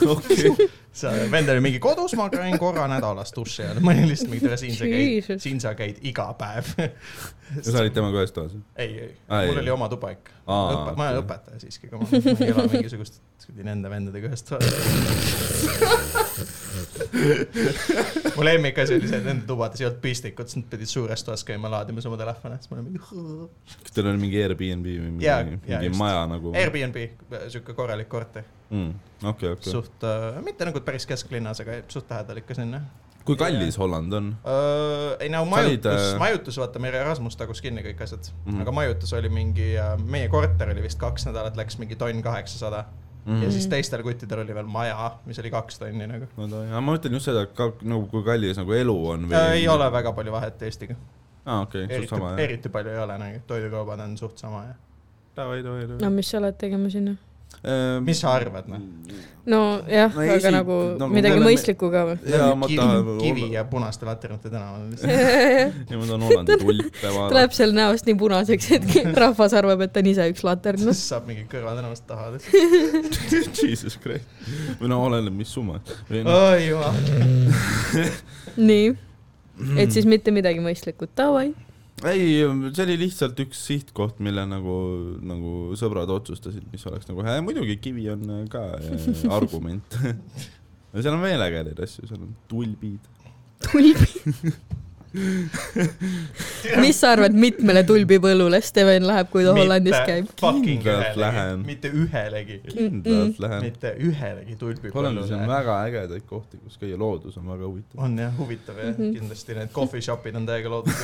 Speaker 3: okei ,
Speaker 2: sa , vend oli mingi kodus , ma käin korra nädalas duši all , ma olin lihtsalt mingi , tere siin sa käid ,
Speaker 1: Jesus.
Speaker 2: siin sa käid iga päev
Speaker 3: ja sa olid temaga ühes toas ?
Speaker 2: ei , ei
Speaker 3: Aa, ,
Speaker 2: mul
Speaker 3: ei.
Speaker 2: oli oma tuba ikka .
Speaker 3: Aa,
Speaker 2: Õpe, ma olen
Speaker 3: okei.
Speaker 2: õpetaja siiski , ma ma ei ela mingisugust nende vendadega ühes toas . mu lemmikasi oli see , et nende tubades ei olnud pistikut , siis nad pidid suures toas käima laadimas oma telefone , siis ma olin mingi .
Speaker 3: kas teil oli mingi Airbnb või mingi,
Speaker 2: Jaa,
Speaker 3: mingi
Speaker 2: jaa, just.
Speaker 3: maja nagu ?
Speaker 2: Airbnb , sihuke korralik korter ,
Speaker 3: mm, . okei , okei .
Speaker 2: suht , mitte nagu päris kesklinnas , aga suht lähedal ikka sinna .
Speaker 3: kui kallis Holland on ?
Speaker 2: ei no
Speaker 3: Sa olid,
Speaker 2: majutus
Speaker 3: äh, ,
Speaker 2: majutus , vaata , meil Erasmus tagus kinni kõik asjad
Speaker 3: Mhm.
Speaker 2: mm. , aga majutus oli mingi , meie korter oli vist kaks nädalat , läks mingi tonn kaheksasada mm. . ja
Speaker 3: Mhm.
Speaker 2: siis teistel kuttidel oli veel maja , mis oli kaks tonni nagu .
Speaker 3: no ta , ma mõtlen just seda , et ka nagu kui kallis nagu elu on või ?
Speaker 2: Äh, ei ole . väga palju vahet Eestiga ,
Speaker 3: aa , okei , suht
Speaker 2: eriti
Speaker 3: sama , jah . Mhm.
Speaker 2: eriti palju ei ole nagu , toidukaubad on suht sama ja .
Speaker 3: davai , davai , Ehm, davai
Speaker 1: no . mis sa oled tegema sinna ?
Speaker 2: mis sa arvad noh ?
Speaker 1: nojah
Speaker 3: No
Speaker 1: no, , aga
Speaker 3: esi-
Speaker 1: nagu
Speaker 3: no
Speaker 1: no,
Speaker 3: me
Speaker 1: midagi
Speaker 3: oleme-
Speaker 1: mõistlikku ka või ?
Speaker 3: jaa , ma
Speaker 2: kivi,
Speaker 3: tahan .
Speaker 2: kivi ja punaste laternate tänaval lihtsalt .
Speaker 3: ja ma tahan Hollandi tulpe vaadata .
Speaker 1: tuleb seal näost nii punaseks , et rahvas arvab , et ta on ise üks noh. latern .
Speaker 2: siis saab mingi kõrvatänavast taha .
Speaker 3: Jesus Christ . või no oleneb , mis summa . või noh ,
Speaker 2: oi jumal .
Speaker 1: nii , et siis mitte midagi mõistlikku , davai .
Speaker 3: ei , see oli lihtsalt üks sihtkoht , mille nagu , nagu sõbrad otsustasid , mis oleks nagu hea , muidugi kivi on ka äh, argument . no seal on veel ägedaid asju , seal on tulbid .
Speaker 1: tulbi . mis sa arvad , mitmele tulbipõllule Steven läheb , kui ta Hollandis käib ?
Speaker 2: fucking
Speaker 3: Kindlalt
Speaker 2: ühelegi
Speaker 3: lähen. ,
Speaker 2: mitte ühelegi ,
Speaker 3: kindlalt lähen .
Speaker 2: mitte ühelegi tulbi .
Speaker 3: Hollandis on väga ägedaid kohti , kus käia , loodus on väga huvitav .
Speaker 2: on jah , huvitav jah mm ,
Speaker 1: Mhm.
Speaker 2: -hmm. kindlasti need coffee shop'id on täiega loodud .
Speaker 3: Äh,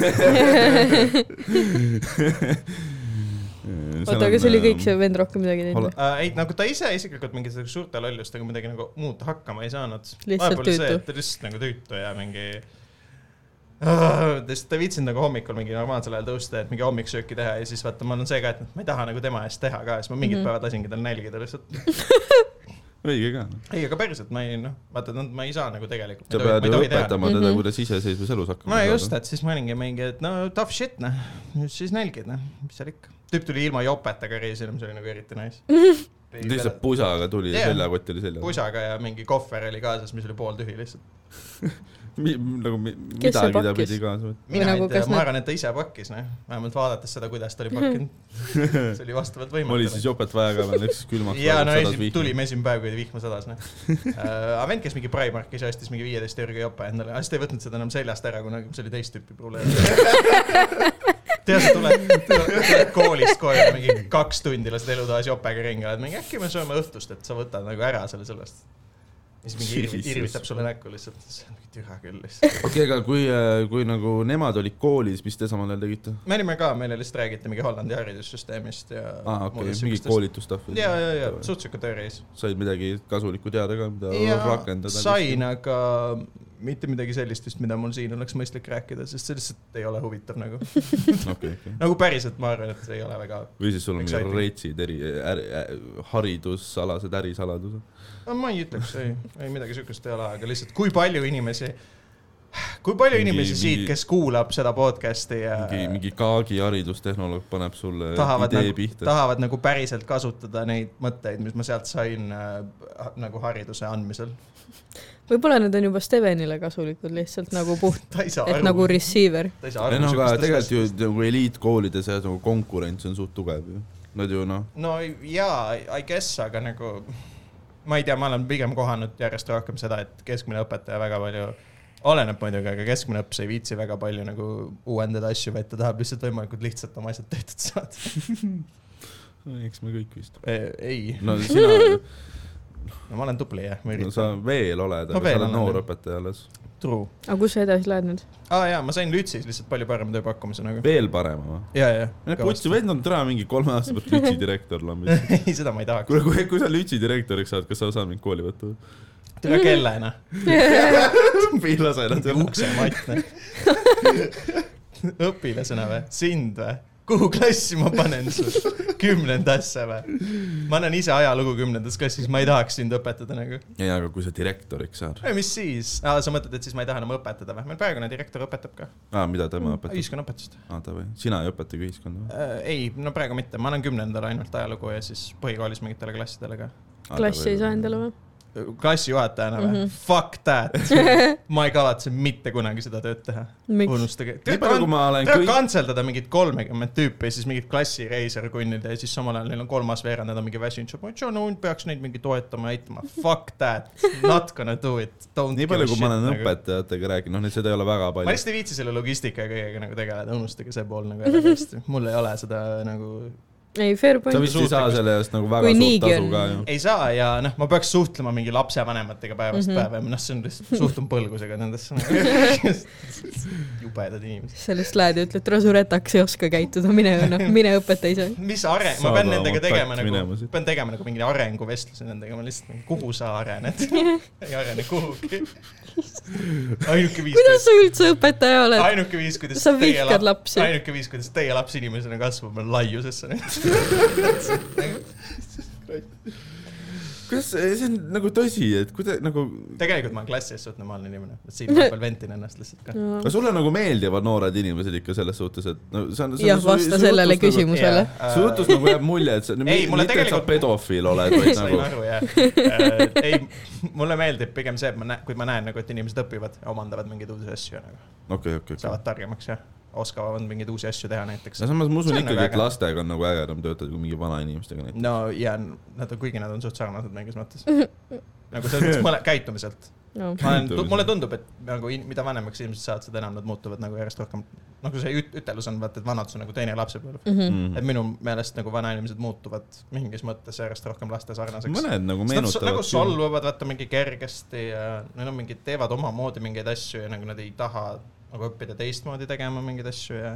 Speaker 1: oota , aga see oli kõik , see vend rohkem midagi teinud või ?
Speaker 2: Uh, ei , nagu ta ise isiklikult mingite suurte lollustega midagi nagu muud hakkama ei saanud .
Speaker 1: Lihtsalt tüütu.
Speaker 2: ta lihtsalt nagu tüütu ja mingi uh, . ta ei viitsinud nagu hommikul mingi normaalsel ajal tõusta , et mingi hommiksööki teha ja siis vaata , mul on see ka , et ma ei taha nagu tema eest teha ka , siis ma
Speaker 1: Mhm.
Speaker 2: mingid mm -hmm. päevad lasingi tal nälgida lihtsalt .
Speaker 3: õige ka .
Speaker 2: ei , aga päriselt ma ei noh , vaata , ma ei saa nagu tegelikult .
Speaker 3: sa pead ju . õpetama teda
Speaker 1: Mhm. ,
Speaker 3: kuidas iseseisvas elus hakkama
Speaker 2: no just ,. et siis ma olingi mingi , et no tough shit noh , siis nälgid noh , mis seal ikka . tüüp tuli ilma jopetega reisile , mis oli nagu eriti nice .
Speaker 3: lihtsalt pusaga tuli ja
Speaker 2: Jaa.
Speaker 3: seljakott oli seljas .
Speaker 2: pusaga ja mingi kohver oli kaasas , mis oli pooltühi lihtsalt .
Speaker 3: nagu mi-
Speaker 1: Kes see
Speaker 3: midagi ta
Speaker 1: pakkis?
Speaker 3: pidi kaasa võtma .
Speaker 1: Või
Speaker 2: mina
Speaker 1: nagu
Speaker 2: ei tea ,
Speaker 1: kas
Speaker 2: ma
Speaker 1: nad-
Speaker 2: arvan , et ta ise pakkis noh , vähemalt vaadates seda , kuidas ta oli pakkinud . see oli vastavalt
Speaker 3: oli siis
Speaker 2: võimalik .
Speaker 3: jopet vaja ka veel , läks külmaks .
Speaker 2: ja no esim- , tulime esimene päev , kui vihma sadas noh . aga vend käis mingi Primarkis ja ostis mingi viieteist euroga jope endale , aga siis ta ei võtnud seda enam seljast ära , kuna see oli teist tüüpi probleem . tead , sa tuled , tuled koolist koju mingi kaks tundi lased elutoas jopega ringi , oled mingi äkki me sööme õhtust , et sa võtad nagu ära selle sellest . ja siis mingi irvi-
Speaker 3: Jesus.
Speaker 2: irvitab sulle näkku lihtsalt , see on mingi tüha küll lihtsalt .
Speaker 3: okei , aga kui , kui nagu nemad olid koolis , mis te samal ajal tegite ?
Speaker 2: me olime ka , meile lihtsalt räägiti mingi Hollandi haridussüsteemist ja .
Speaker 3: aa , Ah, okei , mingi . koolitustuff .
Speaker 2: ja , ja , ja . suht siuke tööreis .
Speaker 3: said midagi kasulikku teada ka , mida rakendada .
Speaker 2: sain , aga mitte midagi sellist vist , mida mul siin oleks mõistlik rääkida , sest see lihtsalt ei ole huvitav nagu .
Speaker 3: okei , okei .
Speaker 2: nagu päriselt ma arvan , et see ei ole väga ,
Speaker 3: või siis sul on mingi
Speaker 2: Exciting.
Speaker 3: reitsid eri , äri , haridusalased ärisaladused .
Speaker 2: ma ei ütleks , ei , ei midagi siukest ei ole , aga lihtsalt kui palju inimesi , kui palju
Speaker 3: Mingi-
Speaker 2: inimesi siit ,
Speaker 3: mingi-
Speaker 2: kes kuulab seda podcast'i ja
Speaker 3: mingi , mingi kaagi haridustehnoloog paneb sulle
Speaker 2: tahavad
Speaker 3: idee
Speaker 2: nagu ,
Speaker 3: pihta .
Speaker 2: tahavad nagu päriselt kasutada neid mõtteid , mis ma sealt sain äh, nagu hariduse andmisel .
Speaker 1: võib-olla need on juba Stevenile kasulikud lihtsalt nagu puht ,
Speaker 2: ta ei saa
Speaker 1: et
Speaker 2: aru
Speaker 1: nagu . receiver .
Speaker 2: ta ei saa
Speaker 3: ei
Speaker 2: aru .
Speaker 3: noh , aga tegelikult ju nagu eliitkoolide seas nagu konkurents on suht tugev ju . Nad ju noh ,
Speaker 2: no jaa , I guess , aga nagu ma ei tea , ma olen pigem kohanud järjest rohkem seda , et keskmine õpetaja väga palju , oleneb muidugi , aga keskmine õps ei viitsi väga palju nagu uuendada asju , vaid ta tahab lihtsalt võimalikult lihtsalt oma asjad tehtud saada .
Speaker 3: eks me kõik vist .
Speaker 2: ei ,
Speaker 3: no sina ,
Speaker 2: no ma olen tubli jah , ma
Speaker 3: no
Speaker 2: üritan .
Speaker 3: sa veel oled ,
Speaker 2: Ma
Speaker 3: aga
Speaker 2: veel
Speaker 3: sa oled
Speaker 2: olen,
Speaker 3: noor
Speaker 2: jah.
Speaker 3: õpetaja alles .
Speaker 2: True .
Speaker 1: aga kus sa edasi lähed nüüd ?
Speaker 2: aa jaa , ma sain Lütsis lihtsalt palju parema tööpakkumise nagu .
Speaker 3: veel parema või ?
Speaker 2: ja , ja .
Speaker 3: putsi vend on täna mingi kolme aasta pärast lütsi direktor lambis .
Speaker 2: ei , seda ma ei tahaks .
Speaker 3: kuule , kui , kui sa lütsi direktoriks saad , kas sa saad mind kooli võtta või ?
Speaker 2: tule kellena .
Speaker 3: millal sa elad seal ?
Speaker 2: uksematne . õpilasena või ? sind või ? kuhu klassi ma panen su ? kümnendasse või ? ma annan ise ajalugu kümnendas klassis , ma ei tahaks sind õpetada nagu .
Speaker 3: ei , aga kui sa direktoriks saad ,
Speaker 2: mis siis ah, ? sa mõtled , et siis ma ei taha enam õpetada või ? meil praegune direktor õpetab ka .
Speaker 3: aa , Ah, mida tema õpetab ?
Speaker 2: ühiskonnaõpetust .
Speaker 3: aa , davai , sina ei õpetagi ühiskonda või ?
Speaker 2: Äh, ei , no praegu mitte , ma annan kümnendal ainult ajalugu ja siis põhikoolis mingitele klassidele ka .
Speaker 1: klassi ei saa endale või ?
Speaker 2: klassijuhatajana või mm ?
Speaker 1: Mhm.
Speaker 2: -hmm. Fuck that . ma ei kavatse mitte kunagi seda tööd teha .
Speaker 1: miks ?
Speaker 2: unustage .
Speaker 3: nii palju , kui ma olen
Speaker 2: tuleb
Speaker 3: kõik ,
Speaker 2: kantseldada mingit kolmekümmet tüüpi ja siis mingit klassi reiser kõnnida ja siis samal ajal neil on kolmas veerand , nad on mingi väsinud , sa mõtled , no peaks neid mingi toetama , aitama . Fuck that , not gonna do it .
Speaker 3: nii palju , kui ma olen . õpetajatega rääkinud , noh , neid seda ei ole väga
Speaker 2: nagu. ma
Speaker 3: palju .
Speaker 2: lihtsalt ei viitsi selle logistika ja kõigega nagu tegeleda , unustage see pool nagu ära tõesti . mul ei ole seda nagu ,
Speaker 1: ei , fair
Speaker 3: sa
Speaker 1: point .
Speaker 3: vist ei saa selle eest nagu väga
Speaker 1: Kui
Speaker 3: suurt
Speaker 1: niigi
Speaker 3: tasu
Speaker 1: on.
Speaker 3: ka ju .
Speaker 2: ei saa ja noh , ma peaks suhtlema mingi lapsevanematega päevast mm
Speaker 1: Mhm.
Speaker 2: -hmm. päeva ja noh , see on lihtsalt , suhtun põlgusega nendesse nagu. . jubedad inimesed .
Speaker 1: sa lihtsalt lähed ja ütled , rasuretaks ei oska käituda , mine , noh , mine õpeta ise .
Speaker 2: mis areng , ma
Speaker 3: Saada
Speaker 2: pean
Speaker 3: oma
Speaker 2: nendega
Speaker 3: takt
Speaker 2: tegema nagu
Speaker 3: minema siit. ,
Speaker 2: pean tegema nagu mingi arenguvestluse nendega , ma lihtsalt , kuhu sa arened ? ei arene kuhugi . ainuke
Speaker 1: kuidas
Speaker 2: viis ,
Speaker 1: sa üldse õpetaja oled ?
Speaker 2: ainuke viis , kuidas
Speaker 1: sa
Speaker 2: teie
Speaker 1: vihkad
Speaker 2: laps ,
Speaker 1: lapsi .
Speaker 2: ainuke viis , kuidas teie laps inimesena kasvab , on laiusesse nüüd .
Speaker 3: kas see on nagu tõsi , et kuidas nagu ,
Speaker 2: tegelikult ma olen klassi ees suht normaalne inimene , silma peal ventin ennast lihtsalt ka .
Speaker 3: aga sulle nagu meeldivad noored inimesed ikka selles suhtes , et no see on .
Speaker 1: jah , vasta sellele . küsimusele .
Speaker 3: nagu-
Speaker 2: äh,
Speaker 3: su jutus nagu jääb mulje , et sa ,
Speaker 2: Ei, mulle
Speaker 3: mitte et sa
Speaker 2: tegelikult-
Speaker 3: pedofiil oled , vaid
Speaker 2: sain
Speaker 3: nagu ,
Speaker 2: aru jah . ei , mulle meeldib pigem see , et ma näen , kui ma näen nagu , et inimesed õpivad ja omandavad mingeid uusi asju nagu .
Speaker 3: okei , okei , okei .
Speaker 2: saavad targemaks ja oskavad mingeid uusi asju teha näiteks
Speaker 3: no . samas ma
Speaker 2: See
Speaker 3: usun
Speaker 2: on
Speaker 3: ikkagi ,
Speaker 2: nagu
Speaker 3: et
Speaker 2: äge.
Speaker 3: lastega on nagu ägedam töötada kui mingi vanainimestega näiteks .
Speaker 2: no ja n- nad on , kuigi nad on suht sarnased mingis mõttes . nagu selles mõttes mõle- , käitumiselt . ma olen ,
Speaker 3: Käitumiselt.
Speaker 2: mulle tundub , et nagu in, mida vanemaks inimesed saavad , seda enam nad muutuvad nagu järjest rohkem , nagu see üt- ütelus on , vaata , et vanadus on nagu teine lapsepõlv . et
Speaker 1: Mhm.
Speaker 3: Mm.
Speaker 2: minu meelest nagu vanainimesed muutuvad mingis mõttes järjest rohkem laste sarnaseks .
Speaker 3: mõned nagu
Speaker 2: Nad so-
Speaker 3: meenutavad .
Speaker 2: nagu solvuvad , vaata mingi kergesti ja neil on mingid , teevad omamoodi mingeid asju ja nagu nad ei taha nagu õppida teistmoodi tegema mingeid asju ja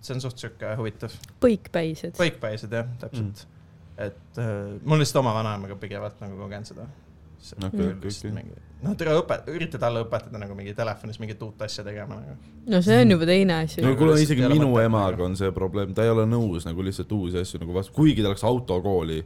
Speaker 2: see on suht sihuke huvitav .
Speaker 1: põikpäised .
Speaker 2: põikpäised jah , täpselt mm. . et äh, mul lihtsalt oma vanaemaga pigevalt nagu kogen seda .
Speaker 3: Okei, okei, okei.
Speaker 2: noh , tere õpet- , ürita talle õpetada nagu mingi telefonis mingit uut asja tegema nagu .
Speaker 1: no see on juba teine asi
Speaker 3: no
Speaker 2: Nagu .
Speaker 3: kuule ,
Speaker 2: lihtsalt
Speaker 3: isegi
Speaker 2: ei ole
Speaker 3: minu
Speaker 2: mõtet
Speaker 3: emaga
Speaker 2: nagu.
Speaker 3: on see probleem , ta ei ole nõus nagu lihtsalt uusi asju nagu vastu , kuigi ta läks autokooli ,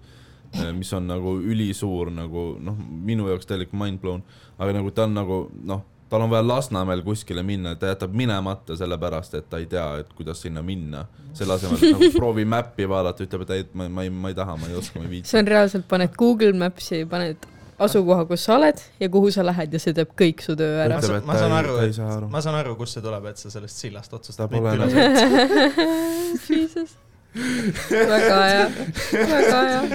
Speaker 3: mis on nagu ülisuur nagu noh , minu jaoks täielik mindblown , aga nagu ta on nagu noh , tal on vaja Lasnamäel kuskile minna , ta jätab minemata sellepärast , et ta ei tea , et kuidas sinna minna . selle asemel , et nagu proovi mäppi vaadata , ütleb , et ei , ma , ma ei , ma ei taha , ma ei oska , ma ei viitsi .
Speaker 1: see on reaalselt , paned Google Maps'i , paned asukoha , kus sa oled ja kuhu sa lähed ja see teeb kõik su töö ära .
Speaker 3: ütleb ,
Speaker 2: sa-
Speaker 3: et
Speaker 2: ma
Speaker 3: ta
Speaker 2: saan
Speaker 3: ei
Speaker 2: aru, ,
Speaker 3: ta
Speaker 2: et
Speaker 3: ei saa aru .
Speaker 2: ma saan aru , kust see tuleb , et sa sellest sillast
Speaker 3: ta
Speaker 2: otsustad .
Speaker 3: pole enam ,
Speaker 1: väga hea , väga hea .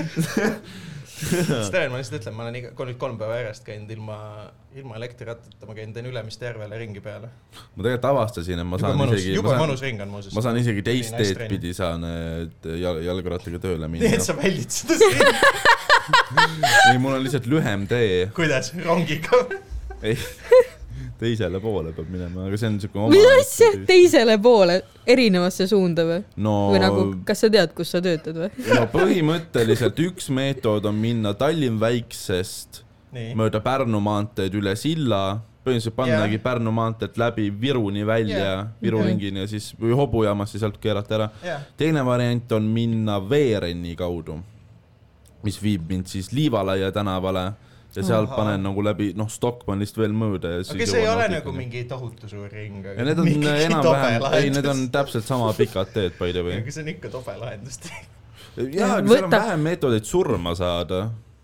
Speaker 2: Sten , ma lihtsalt ütlen , ma olen iga , nüüd kolm päeva järjest käinud ilma , ilma elektrirattata , ma käin , teen Ülemiste järvele ringi peale .
Speaker 3: ma tegelikult avastasin , et ma
Speaker 2: juba
Speaker 3: saan
Speaker 2: mõnus ,
Speaker 3: isegi ,
Speaker 2: juba
Speaker 3: ma saan ,
Speaker 2: mõnus ring on muuseas
Speaker 3: ma . saan isegi teist
Speaker 2: Nii, nice
Speaker 3: teed
Speaker 2: training.
Speaker 3: pidi saan et jal- jalgrattaga tööle minna .
Speaker 2: nii et sa väldid seda siin ,
Speaker 3: ei , mul on lihtsalt lühem tee
Speaker 2: kuidas , rongiga .
Speaker 3: teisele poole peab minema , aga see on siuke
Speaker 1: mis asja ,? teisele poole , erinevasse suunda või ?
Speaker 3: no ,
Speaker 1: või nagu , kas sa tead , kus sa töötad või ?
Speaker 3: no põhimõtteliselt üks meetod on minna Tallinn väiksest
Speaker 2: nii ,
Speaker 3: mööda Pärnu maanteed üle silla , põhimõtteliselt pannagi
Speaker 2: Jah.
Speaker 3: yeah. Pärnu maanteed läbi Viruni välja
Speaker 2: Jah.
Speaker 3: yeah. , Viru
Speaker 1: Mhm.
Speaker 3: ringini ja siis või hobujaamasse sealt keerata ära .
Speaker 2: jah ,
Speaker 3: teine variant on minna Veerenni kaudu , mis viib mind siis Liivalaia tänavale , ja seal
Speaker 2: Ahaa.
Speaker 3: panen nagu läbi , noh , Stockmannist veel mööda ja siis .
Speaker 2: okei , see ei ole nagu . mingi tohutu suur ring , aga
Speaker 3: ja need on
Speaker 2: ikkagi
Speaker 3: enam-vähem ,
Speaker 2: tobe
Speaker 3: ei , need on
Speaker 2: lahendus.
Speaker 3: täpselt sama pikad teed by the way .
Speaker 2: aga see on ikka tobe lahendus .
Speaker 3: jaa , aga seal on
Speaker 1: Võta-
Speaker 3: vähem meetodeid surma saada ,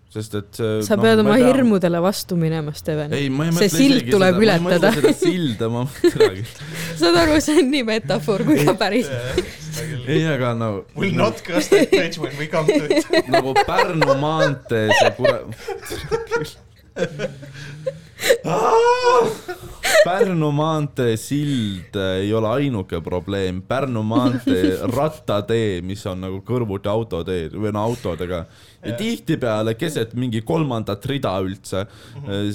Speaker 3: sest et . eh, noh,
Speaker 1: sa pead oma . hirmudele vastu minema , Steven .
Speaker 3: ei , ma ei
Speaker 1: see sild tuleb
Speaker 3: seda,
Speaker 1: ületada.
Speaker 3: ma ei mõtle seda silda , ma mõtlen midagi .
Speaker 1: saad aru , see on nii metafoor kui ka päris .
Speaker 3: ei , aga no
Speaker 2: Will not cross that bridge when we come to it .
Speaker 3: nagu Pärnu maantee , see kurat . Ah! Pärnu maantee sild äh, ei ole ainuke probleem , Pärnu maantee rattatee , mis on nagu kõrvuti autoteed või no autodega ja tihtipeale keset mingi kolmandat rida üldse ,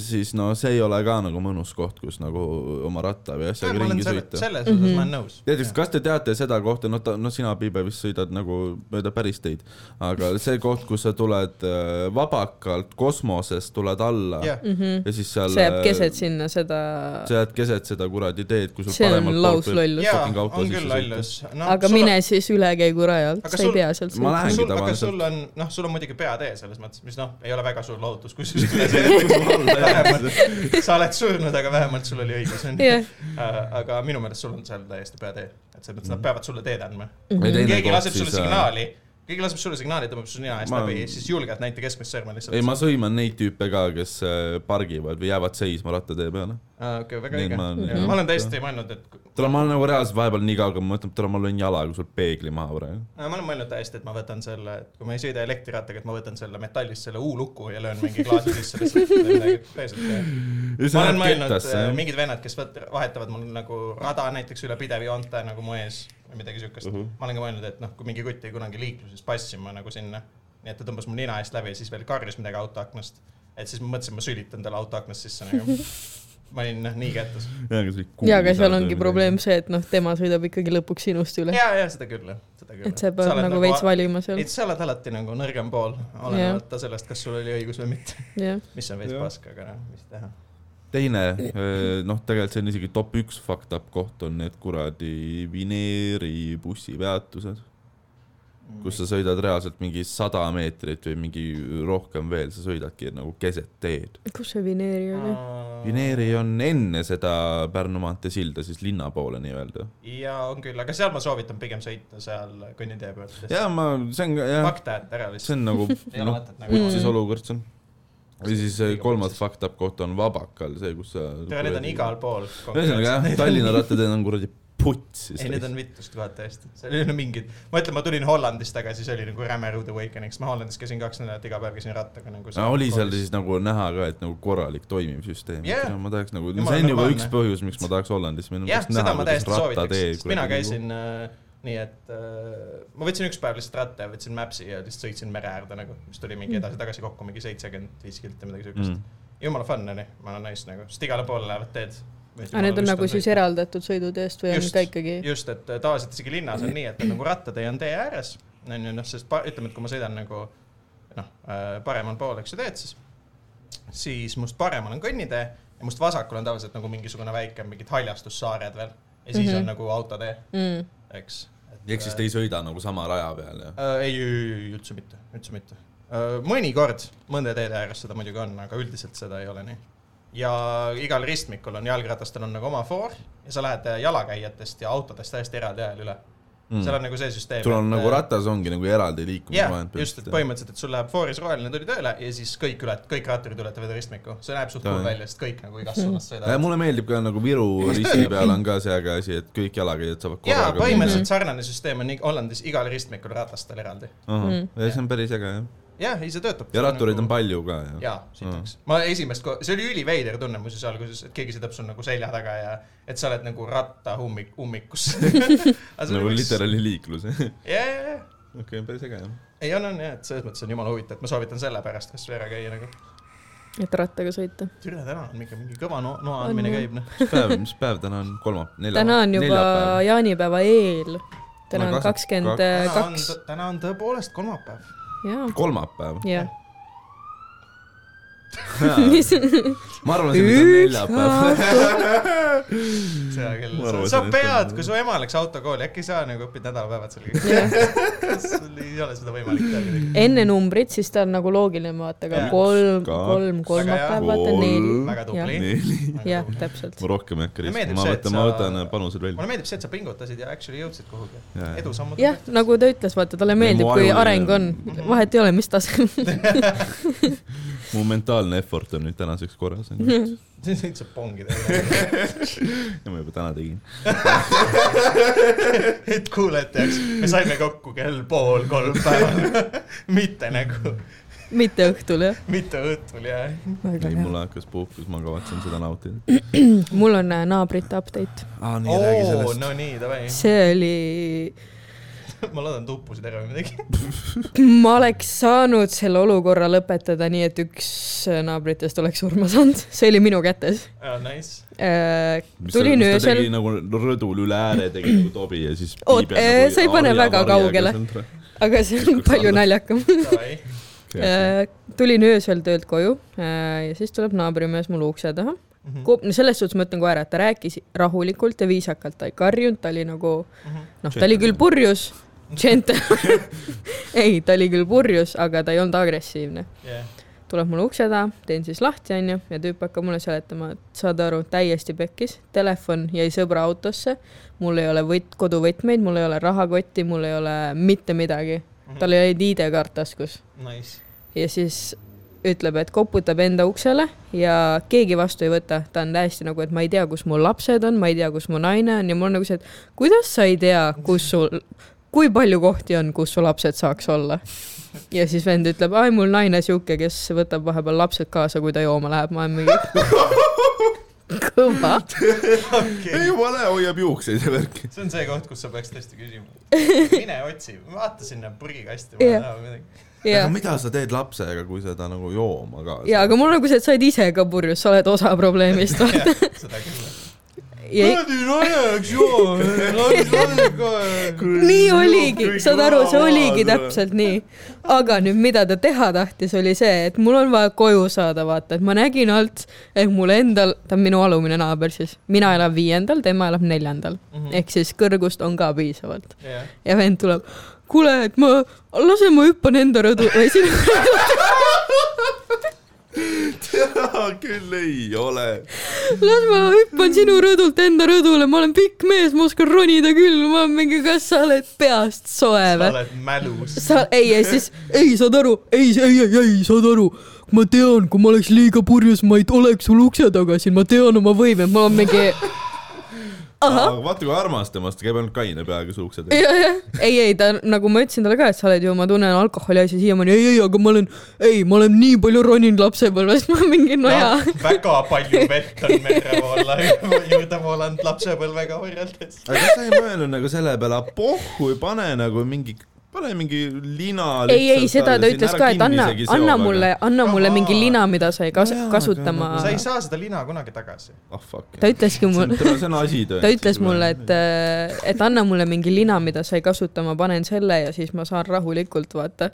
Speaker 3: siis no see ei ole ka nagu mõnus koht , kus nagu oma ratta või asjaga
Speaker 2: ma olen
Speaker 3: ringi
Speaker 2: selle ,
Speaker 3: sõita .
Speaker 2: selles osas ma olen
Speaker 1: Mhm.
Speaker 2: nõus .
Speaker 3: näiteks , kas te teate seda kohta , no ta , no sina , Piibe , vist sõidad nagu mööda päris teid , aga see koht , kus sa tuled äh, vabakalt kosmosest , tuled alla
Speaker 2: jah ,
Speaker 1: Mhm.
Speaker 3: ja siis seal .
Speaker 1: see jääb keset sinna seda ,
Speaker 3: sa jääd keset seda kuradi teed , kui sul
Speaker 1: see on
Speaker 3: paremalt
Speaker 1: laus
Speaker 3: võib-
Speaker 1: lollus .
Speaker 2: jaa ,
Speaker 3: fucking auto
Speaker 2: on
Speaker 3: sisse
Speaker 2: küll
Speaker 3: sõita.
Speaker 2: lollus .
Speaker 1: aga mine siis ülekäiguraja alt ,
Speaker 2: Aga
Speaker 1: sa ei
Speaker 2: sul-
Speaker 1: pea sealt
Speaker 3: Ma lähengi
Speaker 2: sul , aga
Speaker 3: tavaliselt.
Speaker 2: sul on , noh , sul on muidugi peatee selles mõttes , mis noh , ei ole väga suur lootus , kui sa just üle sõidad . sa oled surnud , aga vähemalt sul oli õigus , onju .
Speaker 1: jah ,
Speaker 2: aga minu meelest sul on seal täiesti peatee , et selles mõttes nad peavad sulle teed andma .
Speaker 1: Mhm.
Speaker 3: Ja Mhm. teine
Speaker 2: keegi
Speaker 3: koht
Speaker 2: laseb sulle
Speaker 3: siis, äh,
Speaker 2: signaali , keegi laseb sulle signaali , tõmbab su nina eest
Speaker 3: Ma-
Speaker 2: läbi , siis julgelt näita keskmist sõrme lihtsalt .
Speaker 3: ei , ma sõiman neid tüüpe ka , kes äh, pargivad või jäävad seisma rattatee peale .
Speaker 2: aa , Ah, okei , väga
Speaker 3: Neid
Speaker 2: õige .
Speaker 3: ma-
Speaker 1: Mhm.
Speaker 2: ma olen täiesti mõelnud , et
Speaker 3: tule , ma olen nagu reaalselt vahepeal nii kaugel , ma mõtlen , et tule , ma löön jalaga sul peegli maha praegu .
Speaker 2: no, . ma olen mõelnud täiesti , et ma võtan selle , kui ma ei sõida elektrirattaga , et ma võtan selle metallist selle U-luku ja löön mingi klaasi sisse lihtsalt või midagi . päriselt jah.
Speaker 3: ja
Speaker 2: ma
Speaker 3: sa
Speaker 2: olen
Speaker 3: lähed
Speaker 2: mõelnud
Speaker 3: kettasse ,
Speaker 2: äh,
Speaker 3: jah .
Speaker 2: mingid vennad , kes võt- vahetavad mul nagu rada näiteks üle pidevjoonte nagu mu ees või midagi siukest
Speaker 1: Mhm.
Speaker 2: uh . -huh. ma olen ka mõelnud , et noh , kui mingi kutt jäi kunagi liikluses passima nagu sinna , nii et ta tõmbas mu nina eest läbi ja siis veel karjus midagi autoaknast . et siis ma mõtlesin , ma sülitan talle autoaknast sisse nagu . ma olin noh , nii kätes .
Speaker 1: ja aga seal ongi probleem . see , et noh , tema sõidab ikkagi lõpuks sinust üle .
Speaker 2: ja , ja seda küll jah , seda küll .
Speaker 1: et sa pead nagu veits valima seal
Speaker 2: et , sa oled alati nagu nõrgem pool , olenemata sellest , kas sul oli õigus või mitte ,
Speaker 1: jah .
Speaker 2: mis on veits
Speaker 3: Jah.
Speaker 2: pask , aga noh , mis teha .
Speaker 3: teine , noh , tegelikult see on isegi top üks fucked up koht on need kuradi Vineeri bussipeatused ,
Speaker 2: Mm.
Speaker 3: kus sa sõidad reaalselt mingi sada meetrit või mingi rohkem veel , sa sõidadki nagu keset teed .
Speaker 1: kus see Vineeri oli ?
Speaker 3: Vineeri on enne seda Pärnu maantee silda siis linna poole nii-öelda .
Speaker 2: ja on küll , aga seal ma soovitan pigem sõita seal kõnnitee pealt , sest
Speaker 3: ja ma , see on , jah ,
Speaker 2: fakt jääb ära
Speaker 3: see
Speaker 2: lihtsalt .
Speaker 3: on nagu
Speaker 2: ei ole
Speaker 3: noh ,
Speaker 2: mõtet
Speaker 3: kutsis
Speaker 2: nagu . Mm.
Speaker 3: olukord see on . ja siis eh, kolmas fucked up koht on Vabakal , see , kus sa .
Speaker 2: tere , need on igal pool .
Speaker 3: ühesõnaga jah , Tallinna rattateed on kuradi putsis .
Speaker 2: ei , need on vitust kohad tõesti , seal ei ole mingit , nagu ma ütlen , ma tulin Hollandist tagasi , see oli nagu räme rude awakening , ma Hollandis käisin kaks nädalat iga päev käisin rattaga nagu .
Speaker 3: no, . oli seal siis nagu näha ka , et nagu korralik toimiv süsteem
Speaker 2: Jah.
Speaker 3: yeah. . ma tahaks nagu ,
Speaker 2: Jumala
Speaker 3: see on juba
Speaker 2: normaalne.
Speaker 3: üks põhjus , miks ma tahaks Hollandisse minna .
Speaker 2: jah , seda
Speaker 3: nagu
Speaker 2: ma täiesti soovitaks , sest mina käisin äh, nii , et äh, ma võtsin üks päev lihtsalt ratta ja võtsin Maps'i ja lihtsalt sõitsin mere äärde nagu , mis tuli
Speaker 1: Mm.
Speaker 2: mingi edasi-tagasi kokku mingi seitsekümmend viis kilti , midagi siukest
Speaker 3: Mm.
Speaker 2: mm. . jumala fun onju , ma olen nice nagu , sest igale poole lähevad teed .
Speaker 1: aga need on nagu siis . eraldatud sõidude eest või on
Speaker 2: Just.
Speaker 1: ka ikkagi ?
Speaker 2: just , et äh, tavaliselt isegi linnas on nii , et on nagu rattatee on tee ääres , onju noh , sest pa- ütleme , et kui ma sõidan nagu noh , paremal pool , eks ju teed siis , siis must paremal on kõnnitee ja must vasakul on tavaliselt nagu mingisugune väike mingid haljastussaared veel ja siis mm -hmm.
Speaker 1: Mhm.
Speaker 2: on nagu autotee
Speaker 1: Mm.
Speaker 2: eks .
Speaker 3: ehk siis te ei sõida nagu sama raja peal ja .
Speaker 2: äh, ? ei , ei , ei , üldse mitte , üldse mitte äh, . mõnikord mõnda teede ääres seda muidugi on , aga üldiselt seda ei ole nii . ja igal ristmikul on jalgratastel on nagu oma foor ja sa lähed äh, jalakäijatest ja autodest täiesti eraldi ajal üle mm. . seal on nagu see süsteem .
Speaker 3: Hmm. sul on nagu . ratas ongi nagu eraldi
Speaker 2: jah
Speaker 3: liikumisvahend .,
Speaker 2: just , et . põhimõtteliselt , et sul läheb fooris roheline tuli tööle ja siis kõik ület- , kõik ratturid ületavad ristmikku , see näeb suht
Speaker 3: Jaa.
Speaker 2: cool välja , sest kõik nagu igas suunas sõidavad .
Speaker 3: mulle meeldib ka nagu Viru risti peal on ka see äge asi , et kõik jalakäijad saavad
Speaker 2: jaa ,
Speaker 3: korraga .
Speaker 2: põhimõtteliselt sarnane süsteem on ig- Hollandis igal ristmikul ratastel eraldi .
Speaker 1: Mm.
Speaker 3: põhimõtteliselt . ja see on päris äge jah .
Speaker 2: jah , ei see töötab .
Speaker 3: ja rattureid on palju Hmm. ka ja .
Speaker 2: jaa , sitaks . ma esimest ko- , see oli üliveider tunne muuseas alguses , et keegi sõidab sul nagu selja taga ja et sa oled nagu ratta ummik , ummikus .
Speaker 3: nagu . literaali liiklus .
Speaker 2: jaa , jaa , jaa .
Speaker 3: okei , päris äge jah .
Speaker 2: ei , on , on jah , et selles mõttes on jumala huvitav , et ma soovitan selle pärast kasvõi ära käia nagu .
Speaker 1: et rattaga sõita .
Speaker 2: türa täna on ikka mingi kõva no- , noa
Speaker 1: On,
Speaker 2: andmine
Speaker 1: jah.
Speaker 2: käib , noh .
Speaker 3: mis päev , mis päev täna on ? kolmapäev , neljapäev ?
Speaker 1: täna on juba jaanipäeva eel . täna
Speaker 3: No
Speaker 1: on
Speaker 3: kaks-
Speaker 1: kakskümmend
Speaker 2: täna on
Speaker 1: Äh, kaks .,
Speaker 2: täna on tõepoolest kolmapäev .
Speaker 1: jaa ,
Speaker 3: kolmapäev .
Speaker 1: jah . mis ,
Speaker 3: ma arvan , see on neljapäev .
Speaker 1: neljapäev.
Speaker 2: seda küll
Speaker 3: Ma arvan, .
Speaker 2: sa
Speaker 3: et see on
Speaker 2: pead ,
Speaker 3: esmaspäev.
Speaker 2: kui su ema läks autokooli , äkki sa nagu õpid nädalapäevad sellega . sul ei ole seda võimalik teha kuidagi .
Speaker 1: enne numbrit , siis ta on nagu loogiline , vaata , aga
Speaker 2: Jaa.
Speaker 1: kolm ,
Speaker 3: kaks,
Speaker 1: kolm , kolmapäev , vaata
Speaker 3: kolm.
Speaker 1: neli .
Speaker 2: väga tubli .
Speaker 1: jah , täpselt .
Speaker 3: ma rohkem ei hakka
Speaker 2: Mulle
Speaker 3: riskima ,
Speaker 2: meeldib
Speaker 3: ma
Speaker 2: see, et
Speaker 3: võtan , ma
Speaker 2: sa-
Speaker 3: võtan äh, panused välja .
Speaker 2: mulle meeldib see , et sa pingutasid ja actually jõudsid kuhugi .
Speaker 3: Jaa.
Speaker 2: edusammud .
Speaker 1: jah , nagu ta ütles , vaata , talle meeldib , kui
Speaker 3: aju-
Speaker 1: areng on , vahet ei ole , mis tasemel .
Speaker 3: mu mentaalne effort on nüüd tänaseks korras .
Speaker 2: see on lihtsalt pongi teha .
Speaker 3: ja ma juba täna tegin .
Speaker 2: et kuulajateks , me saime kokku kell pool kolm päeval . mitte nagu ,
Speaker 1: mitte õhtul , jah .
Speaker 2: mitte õhtul ja .
Speaker 1: väga
Speaker 3: ei ,
Speaker 1: hea .
Speaker 3: mul hakkas puhkus , ma kavatsen seda nautida .
Speaker 1: mul on äh, naabrite update .
Speaker 3: aa , Ah, nii , räägi
Speaker 2: oo ,
Speaker 3: sellest .
Speaker 2: no nii , davai .
Speaker 1: see oli ,
Speaker 2: ma loodan , tuppusid ära või midagi .
Speaker 1: ma oleks saanud selle olukorra lõpetada nii , et üks äh, naabritest oleks surma saanud , see oli minu kätes .
Speaker 2: Oh, Nice .
Speaker 1: tulin
Speaker 3: ta
Speaker 1: öösel
Speaker 3: tegi nagu rõdul üle ääre tegi nagu tobi ja siis .
Speaker 1: Oot, eh, sa ei pane väga kaugele. aga see on palju naljakam .
Speaker 2: davai .
Speaker 1: tulin öösel töölt koju äh, ja siis tuleb naabrimees mul ukse taha .
Speaker 2: Mhm.
Speaker 1: selles suhtes ma ütlen kohe ära , et ta rääkis rahulikult ja viisakalt , ta ei karjunud , ta oli nagu
Speaker 2: Mhm.
Speaker 1: noh , ta oli küll purjus , džentel , ei , ta oli küll purjus , aga ta ei olnud agressiivne .
Speaker 2: jah ,
Speaker 1: tuleb mulle ukse taha , teen siis lahti , onju , ja tüüp hakkab mulle seletama , et saad aru , täiesti pekkis , telefon jäi sõbra autosse , mul ei ole võt- , koduvõtmeid , mul ei ole rahakotti , mul ei ole mitte midagi . tal ei olnud ID-kaart taskus
Speaker 2: Mhm. nice .
Speaker 1: ja siis ütleb , et koputab enda uksele ja keegi vastu ei võta , ta on täiesti nagu , et ma ei tea , kus mu lapsed on , ma ei tea , kus mu naine on ja mul on nagu see , et kuidas sa ei tea , kus sul , kui palju kohti on , kus su lapsed saaks olla . ja siis vend ütleb , ai mul naine sihuke , kes võtab vahepeal lapsed kaasa , kui ta jooma läheb , ma olen mingi kõva .
Speaker 3: ei jumala , hoiab juukseid ja värki .
Speaker 2: see on see koht , kus sa peaks tõesti küsima . mine otsi , vaata sinna prügikasti , ma ei
Speaker 1: Jah.
Speaker 2: taha midagi .
Speaker 1: ja
Speaker 3: aga , mida sa teed lapsega , kui sa ta nagu jooma ka ?
Speaker 1: ja aga mul on nagu see , et sa oled ise ka purjus , sa oled osa probleemist .
Speaker 2: seda küll .
Speaker 1: ja
Speaker 2: naine , eks ju , las laseb ka .
Speaker 1: nii oligi , saad aru , see oligi
Speaker 3: Jaa,
Speaker 1: täpselt nii . aga nüüd , mida ta teha tahtis , oli see , et mul on vaja koju saada , vaata , et ma nägin alt , et mul endal , ta on minu alumine naaber siis , mina elan viiendal , tema elab neljandal . ehk siis kõrgust on ka piisavalt .
Speaker 2: jah ,
Speaker 1: ja vend tuleb , kuule , et ma , lase ma hüppan enda rõdu , või sinu ,
Speaker 3: küll ei ole .
Speaker 1: las ma hüppan sinu rõdult enda rõdule , ma olen pikk mees , ma oskan ronida küll , ma olen mingi , kas sa oled peast soe
Speaker 2: sa
Speaker 1: või ?
Speaker 2: oled mälus .
Speaker 1: sa , ei , ja siis , ei , saad aru , ei , ei , ei , ei , saad aru , ma tean , kui ma oleks liiga purjus , ma ei oleks sul ukse taga siin , ma tean oma võimeid , ma olen mingi , ahah ,
Speaker 3: vaata kui armas temast , käib ainult kaine peaga su ukse taga .
Speaker 1: jah , ei , ei ta nagu ma ütlesin talle ka , et sa oled ju , ma tunnen alkoholi asja siiamaani , ei , ei , aga ma olen , ei , ma olen nii palju roninud lapsepõlves , ma mingi
Speaker 3: Noh,
Speaker 1: no jaa .
Speaker 2: Noh, väga palju vett on merre voola , juurde voolanud lapsepõlvega võrreldes .
Speaker 3: aga kas sa ei mõelnud nagu selle peale , pohhu ei pane nagu mingi , pane mingi lina .
Speaker 1: ei , ei , seda ta ütles ka , et anna , anna mulle , anna mulle mingi lina , mida sa ei kas-
Speaker 3: Jaa, , aga
Speaker 1: kasutama
Speaker 3: nagu
Speaker 2: sa ei . saa seda lina kunagi tagasi .
Speaker 3: ah fuck .
Speaker 1: ta ütleski mul ,
Speaker 3: see on asi tõesti .
Speaker 1: ta ütles mulle , et , et anna mulle mingi lina , mida sa ei kasuta , ma panen selle ja siis ma saan rahulikult vaata ,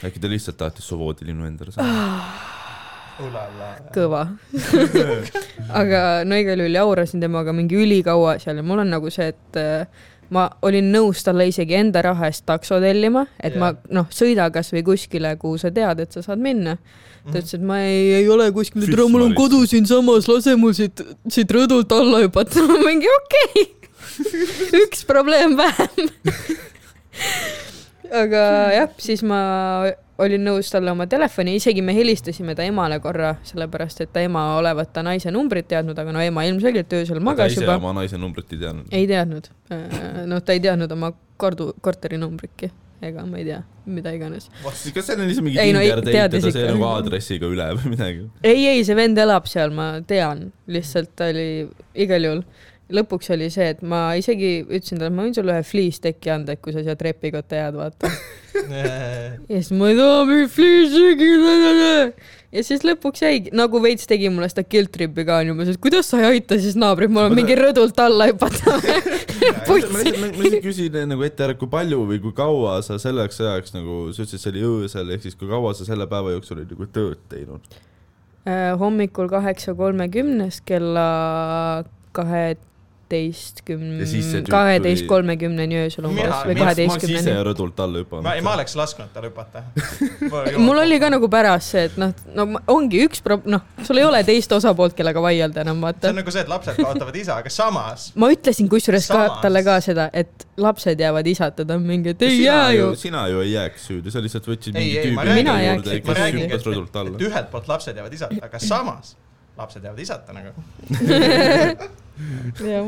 Speaker 3: äkki ta lihtsalt tahtis su voodilinnu endale
Speaker 1: Ah,
Speaker 3: saada .
Speaker 2: ulala .
Speaker 1: kõva . aga no igal juhul jaurasin temaga mingi ülikaua seal ja mul on nagu see , et äh, ma olin nõus talle isegi enda raha eest takso tellima , et yeah. ma noh , sõida kasvõi kuskile , kuhu sa tead , et sa saad minna . ta ütles , et ma ei , ei ole kuskil , et
Speaker 3: Fits
Speaker 1: ära mul on
Speaker 3: Maris.
Speaker 1: kodu siinsamas , lase mul siit , siit rõdult alla hüpata . ma mingi okei okay. , üks probleem vähem . aga jah , siis ma olin nõus talle oma telefoni , isegi me helistasime ta emale korra , sellepärast et ta ema olevat ta naise numbrit teadnud , aga no ema ilmselgelt öösel magas
Speaker 3: ta
Speaker 1: juba
Speaker 3: ise . oma naise numbrit ei teadnud .
Speaker 1: ei teadnud , noh , ta ei teadnud oma kordu , korteri numbritki ega ma ei tea , mida iganes .
Speaker 3: kas seal on lihtsalt mingi
Speaker 1: Ei, no ei-
Speaker 3: Tinder date ,
Speaker 1: teadis
Speaker 3: ta sai
Speaker 1: ikka.
Speaker 3: nagu aadressiga üle või midagi ?
Speaker 1: ei , ei , see vend elab seal , ma tean , lihtsalt ta oli igal juhul , lõpuks oli see , et ma isegi ütlesin talle , ma võin sulle ühe fliisteki anda , et kui sa siia trepikotta jääd , vaata . ja siis ma ei taha mingit fliisteki . ja siis lõpuks jäigi , nagu veits tegi mulle seda guilt trip'i ka onju , ma ütlesin , et kuidas sa ei aita siis naabrit , mul on mingi rõdult alla hüpata .
Speaker 3: ma
Speaker 1: putsi .
Speaker 3: lihtsalt- ma- ma lihtsalt küsin nagu ette ära , kui palju või kui kaua sa selleks ajaks nagu , sa ütlesid , see oli öösel , ehk siis kui kaua sa selle päeva jooksul olid nagu tööd teinud ?
Speaker 1: Äh, hommikul kaheksa kolmekümnest kella kaheteistkümne
Speaker 3: Ja siis see , tüüp
Speaker 1: kaheteist kolmekümneni öösel umbes
Speaker 2: Mina-
Speaker 1: või
Speaker 2: mina-
Speaker 3: ma oleks ise
Speaker 1: kaheteistkümneni ..
Speaker 3: rõdult alla hüpanud
Speaker 2: ma , ei , ma oleks lasknud tal hüpata
Speaker 1: mul oli ka nagu pärast see , et noh , no ma- ongi üks pro- , noh , sul ei ole teist osapoolt , kellega vaielda enam ,
Speaker 2: see
Speaker 1: vaata
Speaker 2: on . nagu see , et lapsed kaotavad isa , aga samas
Speaker 1: ma ütlesin kusjuures ka
Speaker 2: Samas.
Speaker 1: talle ka seda , et lapsed jäävad isata , ta on mingi , et ei
Speaker 3: sina
Speaker 1: jää
Speaker 3: ju
Speaker 1: ju .,
Speaker 3: sina ju ei jääks süüdi , sa lihtsalt võtsid
Speaker 2: Ei,
Speaker 3: mingi
Speaker 2: ei, ma
Speaker 3: tüübi
Speaker 2: räägin-
Speaker 1: Mina
Speaker 3: enda
Speaker 1: jääks,
Speaker 3: juurde ,
Speaker 1: et ma
Speaker 3: kes
Speaker 2: räägin,
Speaker 3: hüppas
Speaker 2: et-
Speaker 3: rõdult
Speaker 2: et
Speaker 3: alla .
Speaker 2: ühelt poolt lapsed jäävad isata , aga samas lapsed jäävad isata nagu .
Speaker 1: jah .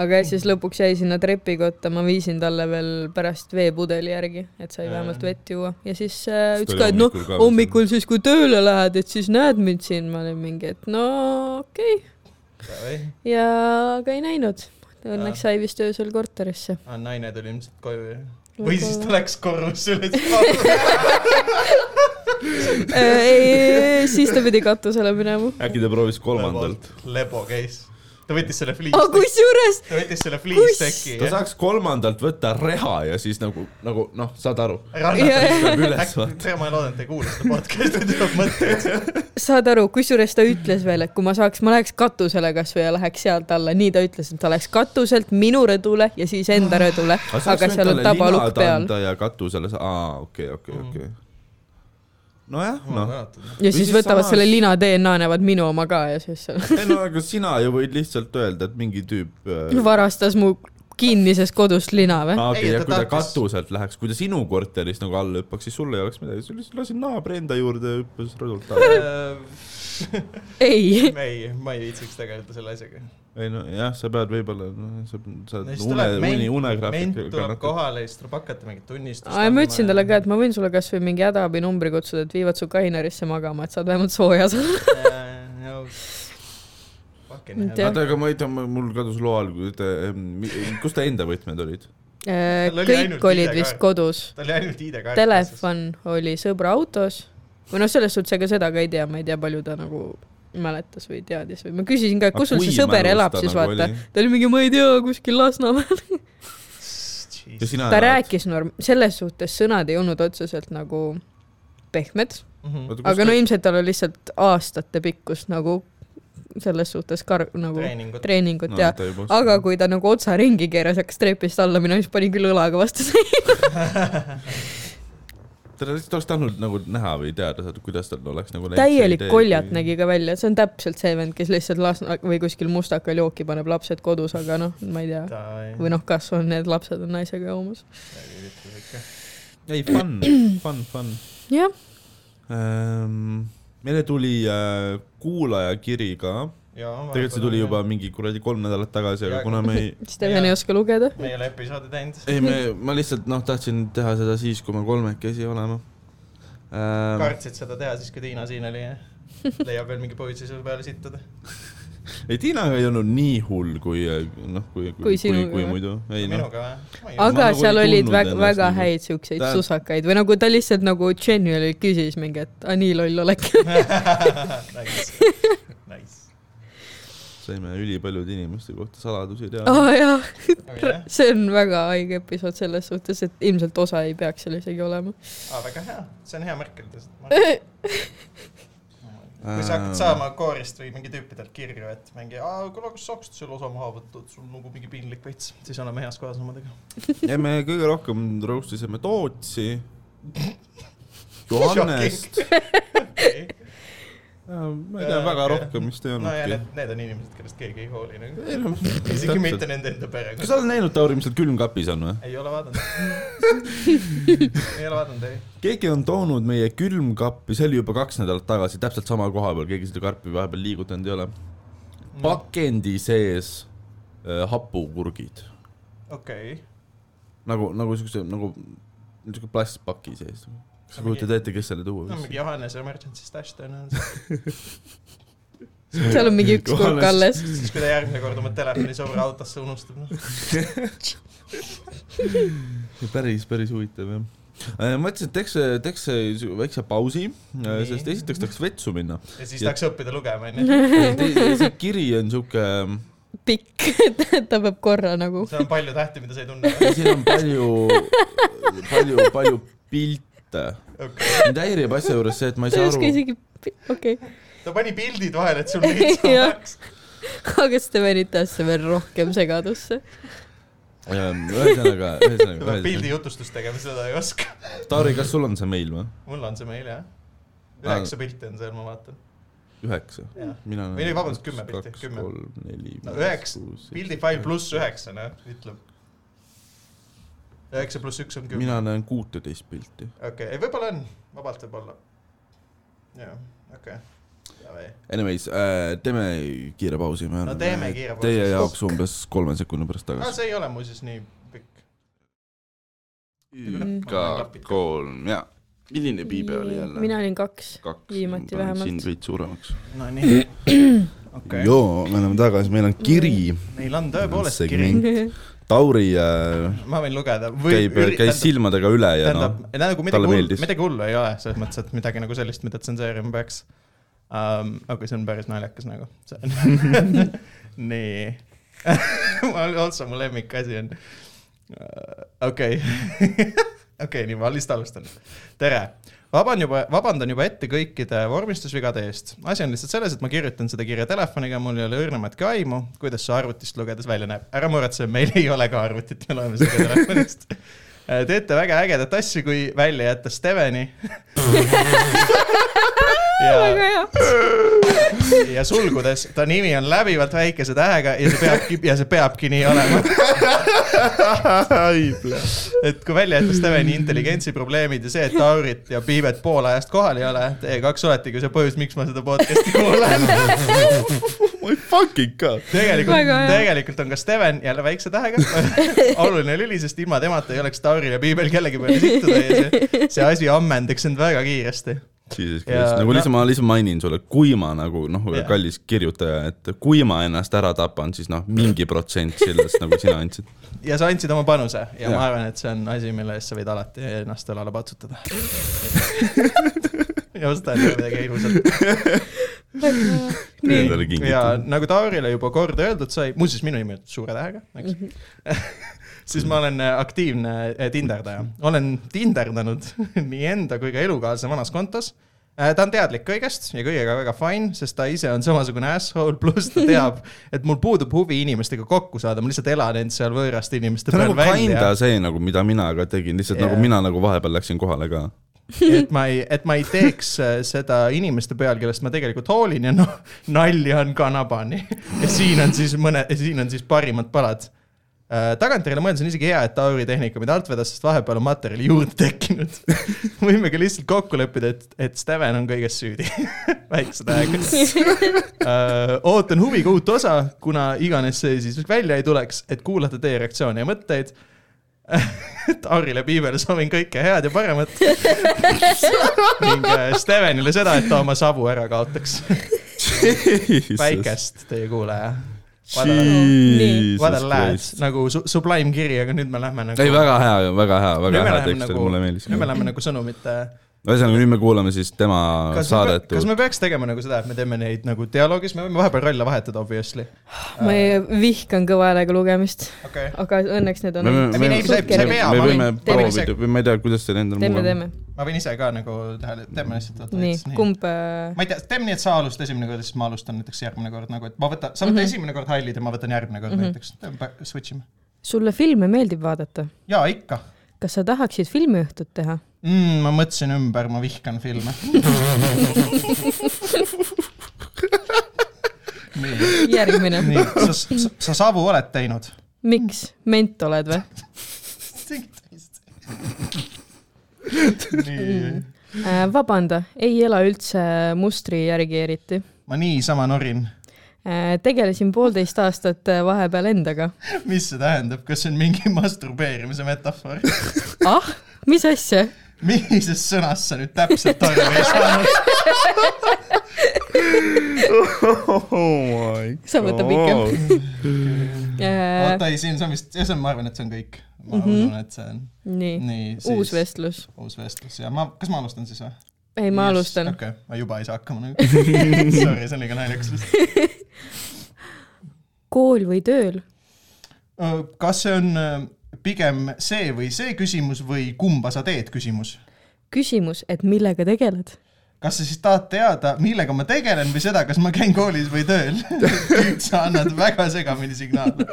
Speaker 1: aga jah, siis lõpuks jäi sinna trepikotta , ma viisin talle veel pärast veepudeli järgi , et sai vähemalt vett juua ja siis äh,
Speaker 3: Siis
Speaker 1: ütles
Speaker 3: tuli
Speaker 1: ka , et noh
Speaker 3: hommikul ka , veel
Speaker 1: hommikul siis , kui tööle lähed , et siis näed mind siin , ma olin mingi , et no okei okay. ja aga ei näinud . Õnneks sai vist öösel korterisse .
Speaker 2: naine tuli ilmselt koju ja
Speaker 1: Võib-olla.
Speaker 2: või siis ta läks korruse üles .
Speaker 1: Äh, siis ta pidi katusele minema .
Speaker 3: äkki ta proovis kolmandalt ?.
Speaker 2: lebo käis , ta võttis selle
Speaker 1: aga
Speaker 2: fliis ,
Speaker 1: kusjuures
Speaker 2: ta võttis selle fliisteki
Speaker 3: ta saaks kolmandalt võtta reha ja siis nagu , nagu noh , saad aru ,
Speaker 1: Jaa, jaa.
Speaker 2: rannatas .
Speaker 3: peab üles
Speaker 2: äkki
Speaker 3: vaatama .,
Speaker 2: ma loodan , et te ei kuula seda podcast'i , tuleb mõtteid .
Speaker 1: saad aru , kusjuures ta ütles veel , et kui ma saaks , ma läheks katusele kasvõi ja läheks sealt alla , nii ta ütles , et ta läks katuselt minu rõdule ja siis enda rõdule , aga seal on tabalukk peal .
Speaker 3: ja katusele sa , aa , okei , okei ,
Speaker 2: Mhm.
Speaker 3: okei . nojah , noh .
Speaker 1: ja siis
Speaker 3: siis
Speaker 1: võtavad
Speaker 3: samas-
Speaker 1: selle lina DNA , näevad minu oma ka ja siis
Speaker 3: ei no aga sina ju võid lihtsalt öelda , et mingi tüüp äh,
Speaker 1: varastas mu kinnisest kodust lina või ?
Speaker 3: aa, okei ,
Speaker 2: Ei,
Speaker 3: ja
Speaker 2: ta
Speaker 3: kui ta
Speaker 2: tahtis-
Speaker 3: katuselt läheks , kui ta sinu korterist nagu alla hüppaks , siis sul ei oleks midagi , sa lihtsalt lasid naabri enda juurde ja hüppas rõdult alla .
Speaker 1: ei ,
Speaker 2: ei , Äh, ma ei viitsiks tegeleda selle asjaga .
Speaker 3: ei no jah , sa pead võib-olla , noh , sa sa
Speaker 2: No
Speaker 3: oled
Speaker 2: siis
Speaker 3: une ,
Speaker 2: tuleb ment- ment
Speaker 3: uni ,
Speaker 2: tuleb
Speaker 3: unegraafikaga .
Speaker 2: kohale ja siis tuleb hakata mingit tunnistust .
Speaker 1: ma ütlesin talle ka , et ma võin sulle kasvõi mingi hädaabinumbri kutsuda , et viivad su kainerisse magama , et saad vähemalt soojas olla .
Speaker 2: Fucking
Speaker 1: Tea-
Speaker 2: hell .
Speaker 3: oota , aga ma ei tea , mul kadus loo all , kus ta enda võtmed olid ?
Speaker 2: oli ainult
Speaker 1: kõik olid
Speaker 2: ID
Speaker 1: vist
Speaker 2: kaart.
Speaker 1: kodus .
Speaker 2: tal oli ainult ID-kaart .
Speaker 1: telefon oli sõbra autos või noh , selles suhtes ega seda ka ei tea , ma ei tea , palju ta nagu mäletas või teadis või ma küsisin ka , et kus sul see sõber elab siis
Speaker 3: nagu
Speaker 1: vaata . ta nagu oli mingi , ma ei tea , kuskil Lasnamäel .
Speaker 3: ja sina
Speaker 1: ta . rääkis norm- , selles suhtes sõnad ei olnud otseselt nagu pehmed ,
Speaker 2: Mhm.
Speaker 1: aga no ilmselt tal oli lihtsalt aastate pikkus nagu selles suhtes kar- , nagu
Speaker 2: treeningut .
Speaker 1: treeningut ja aga . kui ta nagu otsa ringi keeras , hakkas trepist alla minema , siis panin küll õlaga vastu seina .
Speaker 3: ta lihtsalt oleks tahtnud nagu näha või teada saada , kuidas tal oleks nagu .
Speaker 1: täielik koljat . nägi ka välja , see on täpselt see vend , kes lihtsalt Lasna või kuskil mustakal jooki paneb lapsed kodus , aga noh , ma ei tea . või noh , kas on need lapsed on naisega joomas .
Speaker 3: ei , fun , fun , fun
Speaker 1: jah ,
Speaker 3: ähm, . meile tuli äh, kuulajakiri ka , tegelikult see tuli juba . mingi kuradi kolm nädalat tagasi , aga
Speaker 2: Ja-
Speaker 3: kuna me ei
Speaker 1: Steven ei
Speaker 2: Jaa.
Speaker 1: oska lugeda .
Speaker 2: me ei ole episoodi teinud .
Speaker 3: ei , me , ma lihtsalt noh , tahtsin teha seda siis , kui me kolmekesi oleme ähm, .
Speaker 2: kartsid seda teha siis , kui Tiina siin oli , jah ? leiab veel mingi poisi su peale sittuda .
Speaker 3: ei , Tiinaga ei olnud nii hull , kui noh , kui ,
Speaker 1: Kui
Speaker 3: kui , kui,
Speaker 1: sinuga
Speaker 3: kui
Speaker 1: või?
Speaker 3: muidu . ei noh ,
Speaker 2: minuga või ?
Speaker 3: Ma
Speaker 1: aga
Speaker 3: nagu ei
Speaker 1: seal olid
Speaker 3: tundnud
Speaker 1: väga ,
Speaker 3: ennast
Speaker 1: väga
Speaker 3: nagu-
Speaker 1: häid siukseid
Speaker 3: Tähendab-
Speaker 1: susakaid või nagu ta lihtsalt nagu genuinely küsis mingi , et "Ah, nii loll olek .
Speaker 2: Nice , nice .
Speaker 3: saime ülipaljude inimeste kohta saladusi teada oh. .
Speaker 1: aa jah ,
Speaker 2: aga jah ,
Speaker 1: see on väga haige episood selles suhtes , et ilmselt osa ei peaks seal isegi olema .
Speaker 2: aa väga hea , see on hea märk endast . kui sa hakkad saama koorist või mingi tüüpidelt kirju , et mingi , aa kuule , kas saaksid selle osa maha võtta , et sul on nagu mingi piinlik veits , siis oleme heas kohas omadega .
Speaker 3: ja me kõige rohkem roast isime Tootsi , Johannest , Äh, ma ei tea
Speaker 2: Jaa,
Speaker 3: väga
Speaker 2: Äh, okei.
Speaker 3: rohkem vist ei
Speaker 2: no ja need
Speaker 3: olnudki .,
Speaker 2: need on inimesed , kellest keegi ei hooli nagu .
Speaker 3: ei noh ,
Speaker 2: isegi
Speaker 3: täpselt
Speaker 2: mitte . nende enda perega
Speaker 3: kas . sa oled näinud Tauri , mis seal külmkapis on või ?
Speaker 2: ei ole vaadanud . ei ole vaadanud , ei .
Speaker 3: keegi on toonud meie külmkappi , see oli juba kaks nädalat tagasi , täpselt sama koha peal , keegi seda karpi vahepeal liigutanud ei ole . pakendi sees äh, hapukurgid ,
Speaker 2: okei .
Speaker 3: nagu , nagu siukse , nagu niisugune plastpaki sees . kas sa
Speaker 2: No mingi-
Speaker 3: kujutad ette , kes selle tuua
Speaker 2: no
Speaker 3: võiks ?
Speaker 2: mingi Johannese emergency stash tõenäoliselt .
Speaker 1: seal on mingi üks kurk
Speaker 3: Johannes-
Speaker 1: alles .
Speaker 2: siis kui ta järgmine kord oma telefoni sõbra autosse unustab , noh .
Speaker 3: päris , päris huvitav jah . mõtlesin , et teeks , teeks siu- väikse pausi ,
Speaker 2: Nii.
Speaker 3: sest esiteks tahaks vetsu minna .
Speaker 2: ja siis
Speaker 3: Ja-
Speaker 2: tahaks õppida lugema , onju .
Speaker 3: see kiri on siuke ,
Speaker 1: pikk , ta peab korra nagu .
Speaker 2: seal on palju tähti , mida sa ei tunne .
Speaker 3: siin on palju , palju , palju pilte .
Speaker 2: okei ,
Speaker 3: mind häirib asja juures see , et ma ei
Speaker 1: ta ei
Speaker 3: saa
Speaker 1: oska
Speaker 3: aru ,
Speaker 1: isegi , okei .
Speaker 2: ta pani pildid vahele , et sul lihtsam
Speaker 1: Jah.
Speaker 2: oleks .
Speaker 1: aga siis te panite asja veel rohkem segadusse .
Speaker 3: äh, ühesõnaga ,
Speaker 2: peab pildi
Speaker 3: ühesõnaga ,
Speaker 2: jutustust tegema , seda ei oska .
Speaker 3: Taari , kas sul on see meil või ?
Speaker 2: mul on see meil jah .
Speaker 3: Aa.
Speaker 2: üheksa pilti on seal , ma vaatan .
Speaker 3: üheksa
Speaker 2: Jah. ?
Speaker 3: mina
Speaker 2: Või ei, vabandust, kümme pilti,
Speaker 3: kaks ,
Speaker 2: kümme.
Speaker 3: kolm , neli ,
Speaker 2: No üheksa-
Speaker 3: kuus ,
Speaker 2: pildifail pluss üheksa , noh , ütleb . üheksa pluss üks on kümme .
Speaker 3: mina näen kuuteteist pilti .
Speaker 2: okei , ei võib-olla on , vabalt võib olla . jah , okei okay. .
Speaker 3: Anyways äh, , teeme kiire pausi , me
Speaker 2: No
Speaker 3: oleme
Speaker 2: teeme kiire pausi.
Speaker 3: teie jaoks umbes kolme sekundi pärast
Speaker 2: aga
Speaker 3: tagasi .
Speaker 2: see ei ole muuseas nii pikk .
Speaker 1: Mm.
Speaker 3: ka kolm ja , milline piibe oli jälle ?
Speaker 1: mina olin kaks .
Speaker 3: kaks ,
Speaker 1: viimati vähemalt.
Speaker 3: sind veits suuremaks
Speaker 2: Nonii , okei Mm.
Speaker 3: okay. . joo , me oleme tagasi , meil on kiri ,
Speaker 2: Neil on tõepoolest kiri
Speaker 3: Segment. . Tauri äh,
Speaker 2: ma võin lugeda või
Speaker 3: käib , käis silmadega üle ja
Speaker 2: tähendab
Speaker 3: noh ,,
Speaker 2: nagu midagi
Speaker 3: talle
Speaker 2: hullu ,
Speaker 3: meeldis.
Speaker 2: midagi hullu ei ole , selles mõttes , et midagi nagu sellist , mida tsenseerima peaks um, . aga see on päris naljakas nagu . nii . otsa mu lemmikasi on . okei , okei , nii ma lihtsalt alustan . tere , vaban juba , vabandan juba ette kõikide vormistusvigade eest . asi on lihtsalt selles , et ma kirjutan seda kirja telefoniga , mul ei ole õrnematki aimu , kuidas see arvutist lugedes välja näeb . ära muretse , meil ei ole ka arvutit , me loeme seda telefonist . teete väga ägedat asja , kui välja jätta Steveni
Speaker 1: väga
Speaker 2: ja ,
Speaker 1: hea .
Speaker 2: ja sulgudes , ta nimi on läbivalt väikese tähega ja see peabki , ja see peabki nii olema .
Speaker 3: noh.
Speaker 2: et kui välja jätta Steveni intelligentsi probleemid ja see , et Taurit ja Piivet pool ajast kohal ei ole , teie kaks oletegi see põhjus , miks ma seda podcast'i kuulan .
Speaker 3: ma ei fucking ka .
Speaker 2: tegelikult
Speaker 1: Väga , hea.
Speaker 2: tegelikult on ka Steven jälle väikse tähega oluline lüli , sest ilma temata ei oleks Tauril ja Piibel kellegi peale sittuda ja see , see asi ammendaks end väga kiiresti . Ja-
Speaker 3: Jesus Christ , nagu lihtsalt ma lihtsalt mainin sulle , kui ma nagu noh
Speaker 2: Jah. ,
Speaker 3: kallis kirjutaja , et kui ma ennast ära tapan , siis noh , mingi protsent sellest nagu sina andsid .
Speaker 2: ja sa andsid oma panuse ja, ja.
Speaker 3: Jah.
Speaker 2: ma arvan , et see on asi , mille eest sa võid alati ennast õlale patsutada . ja osta endale midagi ilusat .
Speaker 1: nii ,
Speaker 3: Endale
Speaker 2: ja
Speaker 3: kingitud .
Speaker 2: nagu Taarile juba kord öeldud sai , muuseas minu nimi on suure tähega , eks siis ma olen äh, aktiivne tinderdaja , olen tinderdanud nii enda kui ka elukaaslase vanas kontos . ta on teadlik kõigest ja kõigega väga fine , sest ta ise on samasugune asshole , pluss ta teab , et mul puudub huvi inimestega kokku saada , ma lihtsalt elan end seal võõraste inimeste
Speaker 3: see on
Speaker 2: peal
Speaker 3: nagu kinda
Speaker 2: välja .
Speaker 3: see nagu , mida mina ka tegin , lihtsalt
Speaker 2: Jaa.
Speaker 3: nagu mina nagu vahepeal läksin kohale ka .
Speaker 2: et ma ei , et ma ei teeks äh, seda inimeste peal , kellest ma tegelikult hoolin ja noh , nalja on kanabani . ja siin on siis mõne , siin on siis parimad palad . tagantjärele mõeldes on isegi hea , et Tauri tehnika mind alt vedas , sest vahepeal on materjali juurde tekkinud . võime ka lihtsalt kokku leppida , et , et Steven on kõiges süüdi . väikse tähega . Äh, ootan huviga uut osa , kuna iganes see siis välja ei tuleks , et kuulata teie reaktsioone ja mõtteid . Taarile Piibele soovin kõike head ja paremat . ning äh, Stevenile seda , et ta oma savu ära kaotaks . päikest , teie kuulaja . What a lad ,
Speaker 3: ei ,
Speaker 2: nagu su- sublime kiri , aga nüüd me lähme nagu .
Speaker 3: väga hea , väga hea , väga hea tekst oli , mulle meeldis .
Speaker 2: nagu- nüüd me läheme nagu sõnumite .
Speaker 3: ühesõnaga , nüüd me kuulame siis tema
Speaker 2: kas me,
Speaker 3: saadet .
Speaker 2: kas me peaks tegema nagu seda , et me teeme neid nagu dialoogis , me võime vahepeal rolle vahetada , obviously .
Speaker 1: ma ei- vihkan kõva häälega lugemist ,
Speaker 2: okei okay. .
Speaker 1: aga õnneks need on .
Speaker 2: me- me- sa ei pea,
Speaker 3: me
Speaker 2: ma
Speaker 3: võime
Speaker 2: võin- teeme
Speaker 3: proovida või ma ei tea , kuidas teil endal
Speaker 1: teeme , teeme .
Speaker 2: ma võin ise ka nagu tähele , teeme lihtsalt vaata
Speaker 1: nii
Speaker 2: näiteks ,
Speaker 1: kumb ? äh,
Speaker 2: ma ei tea , teeme nii , et sa alustad esimene kord ja siis ma alustan näiteks järgmine kord nagu , et ma võtan , sa võtad
Speaker 1: Mhm.
Speaker 2: mm -hmm. esimene kord hallid ja ma võtan järgmine kord mm -hmm. näiteks , teeme , switch ime .
Speaker 1: sulle filme meeldib vaadata ?
Speaker 2: jaa , ikka
Speaker 1: kas sa tahaksid filmiõhtut teha ?
Speaker 2: mm, . ma mõtlesin ümber , ma vihkan filme . nii ,
Speaker 1: järgmine .
Speaker 2: nii , sa, sa , sa Savu oled teinud ?
Speaker 1: miks ? ment oled või ?
Speaker 2: nii ,
Speaker 1: Äh, vabanda , ei ela üldse mustri järgi eriti .
Speaker 2: ma niisama norin .
Speaker 1: tegelesin poolteist aastat äh, vahepeal endaga .
Speaker 2: mis see tähendab , kas see on mingi masturbeerimise metafoor ?
Speaker 1: ah , mis asja ?
Speaker 2: millisest sõnast sa nüüd täpselt aru ei saanud ?
Speaker 3: Oh
Speaker 1: Sa võta pikem. . Äh,
Speaker 2: oota , ei , siin see on vist , see on , ma arvan , et see on kõik . ma mm -hmm. usun , et see on ,
Speaker 1: nii ,
Speaker 2: nii .
Speaker 1: Mhm. uus . vestlus .
Speaker 2: uus vestlus ja ma , kas ma alustan siis või ?
Speaker 1: ei , ma alustan .
Speaker 2: okei okay. , ma juba ei saa hakkama nagu . Sorry , see on liiga naljakas vist .
Speaker 1: kool või tööl ?
Speaker 2: kas see on öö, pigem see või see küsimus või kumba sa teed küsimus ?
Speaker 1: küsimus , et millega tegeled ?
Speaker 2: kas sa siis tahad teada , millega ma tegelen või seda , kas ma käin koolis või tööl ? nüüd sa annad väga segamini signaale .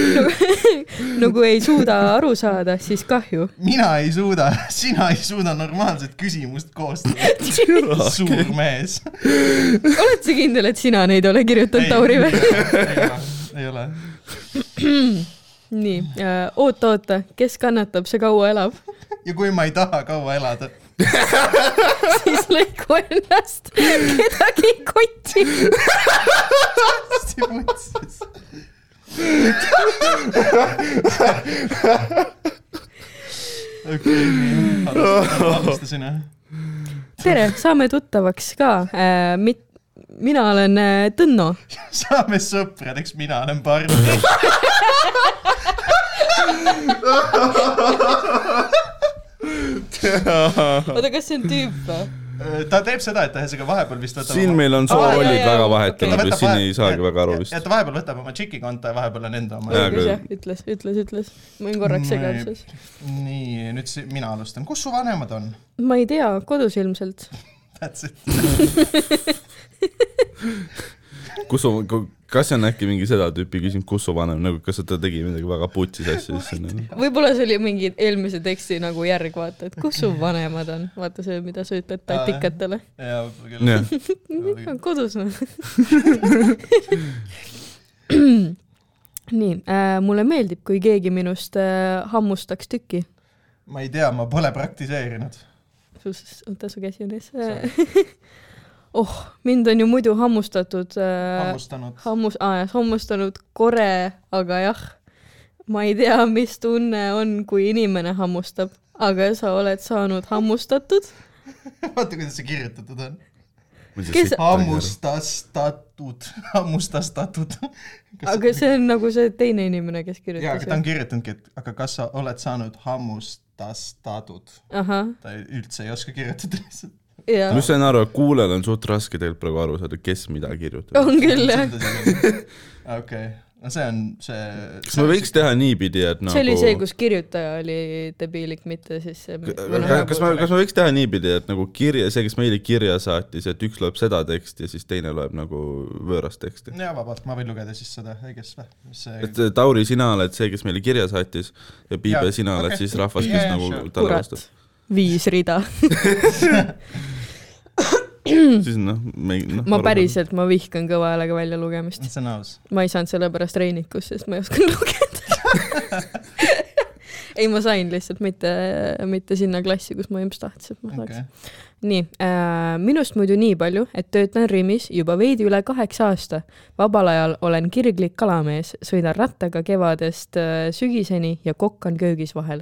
Speaker 1: no kui Nagu ei suuda aru saada , siis kahju .
Speaker 2: mina ei suuda , sina ei suuda normaalset küsimust koostada , suur mees .
Speaker 1: oled sa kindel , et sina neid ole kirjutanud , Tauri või ?
Speaker 2: ei ole .
Speaker 1: nii , oota , oota , kes kannatab , see kaua elab ,
Speaker 2: ja kui ma ei taha kaua elada ,
Speaker 1: siis lõiku ennast , kedagi ei koti .
Speaker 2: siis mõtlesin , et okei , alustasin jah .
Speaker 1: tere , saame tuttavaks ka . mina olen äh, Tõnno .
Speaker 2: saame sõpradeks , mina olen Barbi .
Speaker 1: oota , kas see on tüüp või ?
Speaker 2: Äh, ta teeb seda , et ta ühesõnaga vahepeal vist võtab
Speaker 3: siin
Speaker 2: oma...
Speaker 3: meil on
Speaker 1: Aa, jaa,
Speaker 3: soovollid
Speaker 1: jaa,
Speaker 3: väga
Speaker 1: okei.
Speaker 3: vahetunud ,
Speaker 2: võtab
Speaker 3: siin
Speaker 2: vahe-
Speaker 3: ei saagi
Speaker 2: ja-
Speaker 3: väga aru
Speaker 2: ja-
Speaker 3: vist
Speaker 2: ja . ta vahepeal võtab oma tšiki konto ja vahepeal on enda oma
Speaker 3: Jaa, .
Speaker 1: õigus
Speaker 3: küll.
Speaker 1: jah , ütles , ütles , ütles . ma olin korraks
Speaker 2: Ma ei-
Speaker 1: segaduses .
Speaker 2: nii , nüüd si- mina alustan , kus su vanemad on ?
Speaker 1: ma ei tea , kodus ilmselt .
Speaker 2: That's it .
Speaker 3: kus on , kas see on äkki mingi seda tüüpi küsimus , kus su vanem nagu , kas ta tegi midagi väga putsis asja , siis on nagu .
Speaker 1: võib-olla see oli mingi eelmise teksti nagu järg , vaata , et kus su vanemad on , vaata see , mida sa ütled tatikatele .
Speaker 2: jaa , võib-olla küll .
Speaker 3: jah ,
Speaker 1: kodus noh? on . nii äh, , mulle meeldib , kui keegi minust äh, hammustaks tükki .
Speaker 2: ma ei tea , ma pole praktiseerinud .
Speaker 1: oota , su käsi on ees . oh , mind on ju muidu hammustatud äh, ,
Speaker 2: hammustanud .
Speaker 1: hammus- ah, , hammustanud kore , aga jah , ma ei tea , mis tunne on , kui inimene hammustab , aga sa oled saanud hammustatud .
Speaker 2: vaata , kuidas see kirjutatud on .
Speaker 1: Kes- .
Speaker 2: hammustastatud , hammustastatud .
Speaker 1: aga see on nagu see teine inimene , kes
Speaker 2: jaa ,
Speaker 1: kirjutas
Speaker 2: aga ta . on kirjutanudki , et aga kas sa oled saanud hammustastatud .
Speaker 1: ahah ,
Speaker 2: ta ei- üldse ei oska kirjutada lihtsalt .
Speaker 1: jaa
Speaker 3: ma . sain aru , et kuulajal on suht raske tegelikult praegu aru saada , kes mida kirjutab .
Speaker 1: on küll
Speaker 2: Nagu-
Speaker 1: jah .
Speaker 2: okei , no see on see .
Speaker 3: kas me võiks teha niipidi , et nagu
Speaker 1: see oli see , kus kirjutaja oli debiilik , mitte siis see .
Speaker 2: äh,
Speaker 3: Ka- kas me , kas me võiks teha niipidi , et nagu kirja , see , kes meile kirja saatis , et üks loeb seda teksti ja siis teine loeb nagu võõrast teksti .
Speaker 2: jaa , vabalt , ma võin lugeda siis seda , õigest või ? mis see
Speaker 3: et eh, Tauri , sina oled see , kes meile kirja saatis ja Piibe
Speaker 2: Jaa, ,
Speaker 3: sina oled
Speaker 2: okei.
Speaker 3: siis rahvas , kes
Speaker 2: Jaa, jaa,
Speaker 3: nagu
Speaker 2: sure.
Speaker 3: talle
Speaker 1: kurat
Speaker 3: vastab .,
Speaker 1: viis rida .
Speaker 3: siis noh , me noh .
Speaker 1: ma . päriselt , ma vihkan kõva häälega väljalugemist .
Speaker 2: see on aus .
Speaker 1: ma ei saanud sellepärast reinikusse , sest ma ei osanud lugeda . ei , ma sain lihtsalt mitte , mitte sinna klassi , kus ma ilmselt tahtsin , et ma saaks
Speaker 2: okei
Speaker 1: okay. .. nii äh, , minust muidu nii palju , et töötan Rimis juba veidi üle kaheksa aasta . vabal ajal olen kirglik kalamees , sõidan rattaga kevadest äh, sügiseni ja kokk on köögis vahel .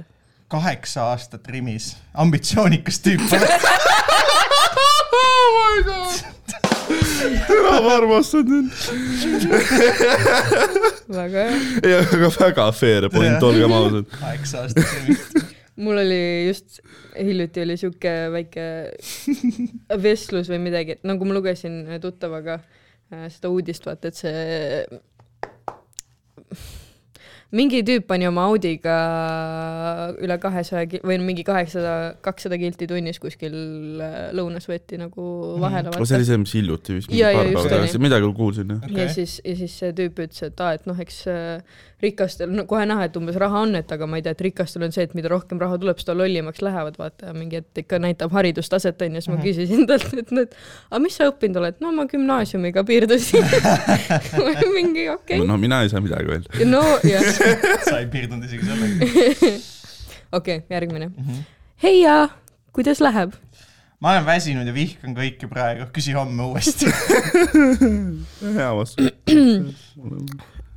Speaker 2: kaheksa aastat Rimis , ambitsioonikas tüüp oled .
Speaker 3: ära ma armastan sind .
Speaker 1: väga hea .
Speaker 3: ei , aga väga fair point , olgem ausad .
Speaker 2: kaheksa aastat Rimis .
Speaker 1: mul oli just , hiljuti oli sihuke väike vestlus või midagi , et nagu ma lugesin tuttavaga äh, seda uudist , vaata , et see mingi tüüp pani oma Audiga üle kahesaja ki- või mingi kaheksasada , kakssada kilti tunnis kuskil äh, lõunasvõtti nagu vahele
Speaker 3: see
Speaker 1: vaata .
Speaker 3: Mhm. oli see , mis hiljuti vist ,
Speaker 1: Jaa, jaa,
Speaker 3: mingi paar
Speaker 1: just
Speaker 3: päeva
Speaker 1: oli.
Speaker 3: tagasi , midagi kuulsin jah .
Speaker 1: ja siis , ja siis see tüüp ütles , et aa , et noh , eks äh, rikastel , no kohe näha , et umbes raha on , et aga ma ei tea , et rikastel on see , et mida rohkem raha tuleb , seda lollimaks lähevad , vaata , mingi , et ikka näitab haridustaset , on ju , siis ma
Speaker 2: Mhm.
Speaker 1: küsisin talt , et noh , et aga mis sa õppinud oled , no ma gümnaasiumiga piirdusin . mingi okei okay. ,
Speaker 3: no mina ei saa midagi öelda .
Speaker 1: no jah ,
Speaker 2: sa ei piirdunud isegi sellega .
Speaker 1: okei , järgmine . heia , kuidas läheb ?
Speaker 2: ma olen väsinud ja vihkan kõike praegu , küsi homme uuesti .
Speaker 3: hea vastus .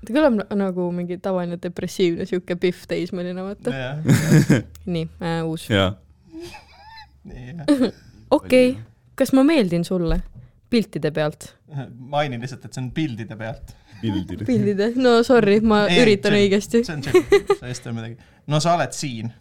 Speaker 1: ta kõlab na- nagu mingi tavaline depressiivne sihuke pihv teismeline , vaata . nii äh, , uus .
Speaker 3: jaa .
Speaker 1: okei okay. , kas ma meeldin sulle piltide pealt ?
Speaker 2: mainin lihtsalt , et see on pildide pealt .
Speaker 3: pildil .
Speaker 1: pildide , eh? no sorry , ma
Speaker 2: Ei,
Speaker 1: ei, üritan
Speaker 2: see-
Speaker 1: õigesti .
Speaker 2: see on tšekk , sa ei ütle midagi . no sa oled siin .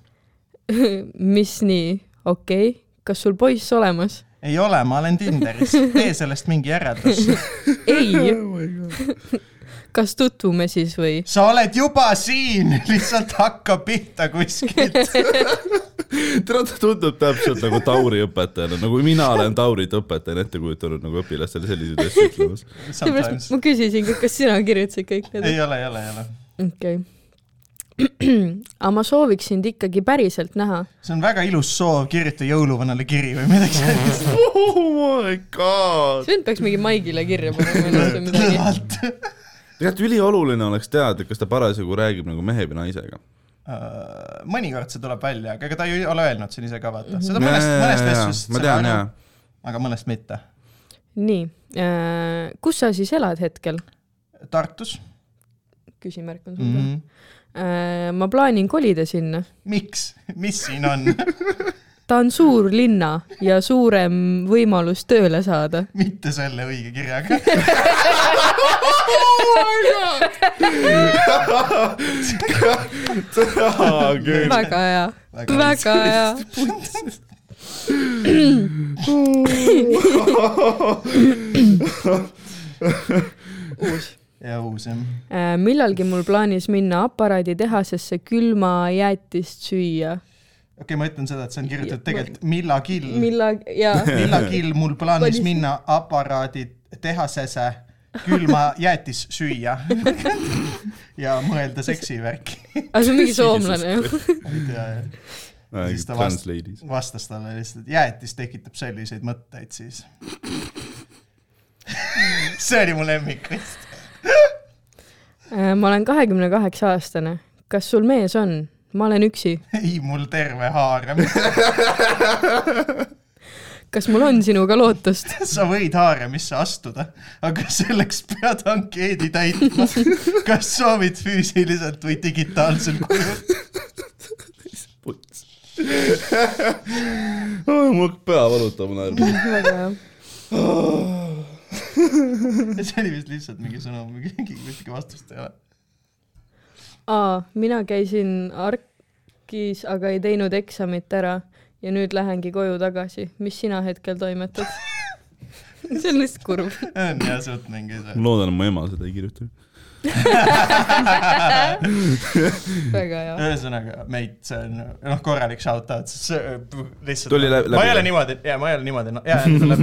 Speaker 1: mis nii , okei okay. , kas sul poiss olemas ?
Speaker 2: ei ole , ma olen Tinderis , tee sellest mingi järeldus .
Speaker 1: ei .
Speaker 2: Oh
Speaker 1: kas tutvume siis või ?
Speaker 2: sa oled juba siin , lihtsalt hakka pihta kuskilt .
Speaker 3: tead , ta tundub täpselt nagu Tauri õpetajana , nagu mina olen Taurit õpetajana ette kujutanud nagu õpilastele selliseid asju ütlemas .
Speaker 1: seepärast
Speaker 2: Sometimes .
Speaker 1: ma küsisin , kas sina kirjutasid kõik need .
Speaker 2: ei ole , ei ole , ei ole .
Speaker 1: okei . aga ma sooviks sind ikkagi päriselt näha .
Speaker 2: see on väga ilus soov , kirjuta jõuluvanale kiri või midagi sellist .
Speaker 3: oh my god .
Speaker 1: see vend peaks mingi Maigile kirja panema või midagi .
Speaker 2: lõdvalt .
Speaker 3: tegelikult ülioluline oleks teada , kas ta parasjagu räägib nagu mehe või naisega .
Speaker 2: Äh, mõnikord see tuleb välja , aga ega ta ei ole öelnud siin ise ka , vaata .
Speaker 3: Mhm.
Speaker 2: seda mõnest , mõnest asjast
Speaker 3: ma tean jaa .
Speaker 2: aga mõnest mitte .
Speaker 1: nii , kus sa siis elad hetkel ?
Speaker 2: Tartus
Speaker 1: küsimärk on
Speaker 2: mm .
Speaker 1: sul
Speaker 2: -hmm.
Speaker 1: ka . ma plaanin kolida sinna .
Speaker 2: miks , mis siin on ,
Speaker 1: ta on suur linna ja suurem võimalus tööle saada .
Speaker 2: mitte selle õige kirjaga .
Speaker 3: küll .
Speaker 1: väga hea , väga hea . uus .
Speaker 2: ja uus jah .
Speaker 1: Äh, millalgi mul plaanis minna aparaaditehasesse külmajäätist süüa .
Speaker 2: okei okay, , ma ütlen seda , et see on kirjutatud tegelikult millagi ,
Speaker 1: millal ja
Speaker 2: millagi mul plaanis
Speaker 1: Panin-
Speaker 2: minna aparaaditehasesse külma jäätis süüa ja mõelda seksivärki .
Speaker 1: aga see on mingi soomlane ju .
Speaker 2: Siis ta vast-
Speaker 3: Translate'is .
Speaker 2: vastas talle lihtsalt , et jäätis tekitab selliseid mõtteid siis . see oli mu lemmik vist .
Speaker 1: Äh, ma olen kahekümne kaheksa aastane . kas sul mees on ? ma olen üksi .
Speaker 2: ei , mul terve haarem .
Speaker 1: kas mul on sinuga lootust ?
Speaker 2: sa võid haaremisse astuda , aga selleks pead ankeedi täitma . kas soovid füüsiliselt või digitaalsel kujul ?
Speaker 3: puts . mu pea valutab naerma .
Speaker 1: väga hea .
Speaker 2: see oli vist lihtsalt mingi sõnum , mingi , ühtegi vastust ei ole .
Speaker 1: aa , mina käisin ARK-is , aga ei teinud eksamit ära ja nüüd lähengi koju tagasi . mis sina hetkel toimetad ? see on lihtsalt kurb .
Speaker 2: on jah , suht mingi see .
Speaker 3: ma loodan , et mu ema seda ei kirjuta .
Speaker 1: väga hea .
Speaker 2: ühesõnaga , meit , see on noh , korralik shout-out , sest see p- lihtsalt .
Speaker 3: Tuli läbi-
Speaker 2: ma ei ole
Speaker 3: läbi-
Speaker 2: niimoodi , jaa , ma ei ole niimoodi , jaa ,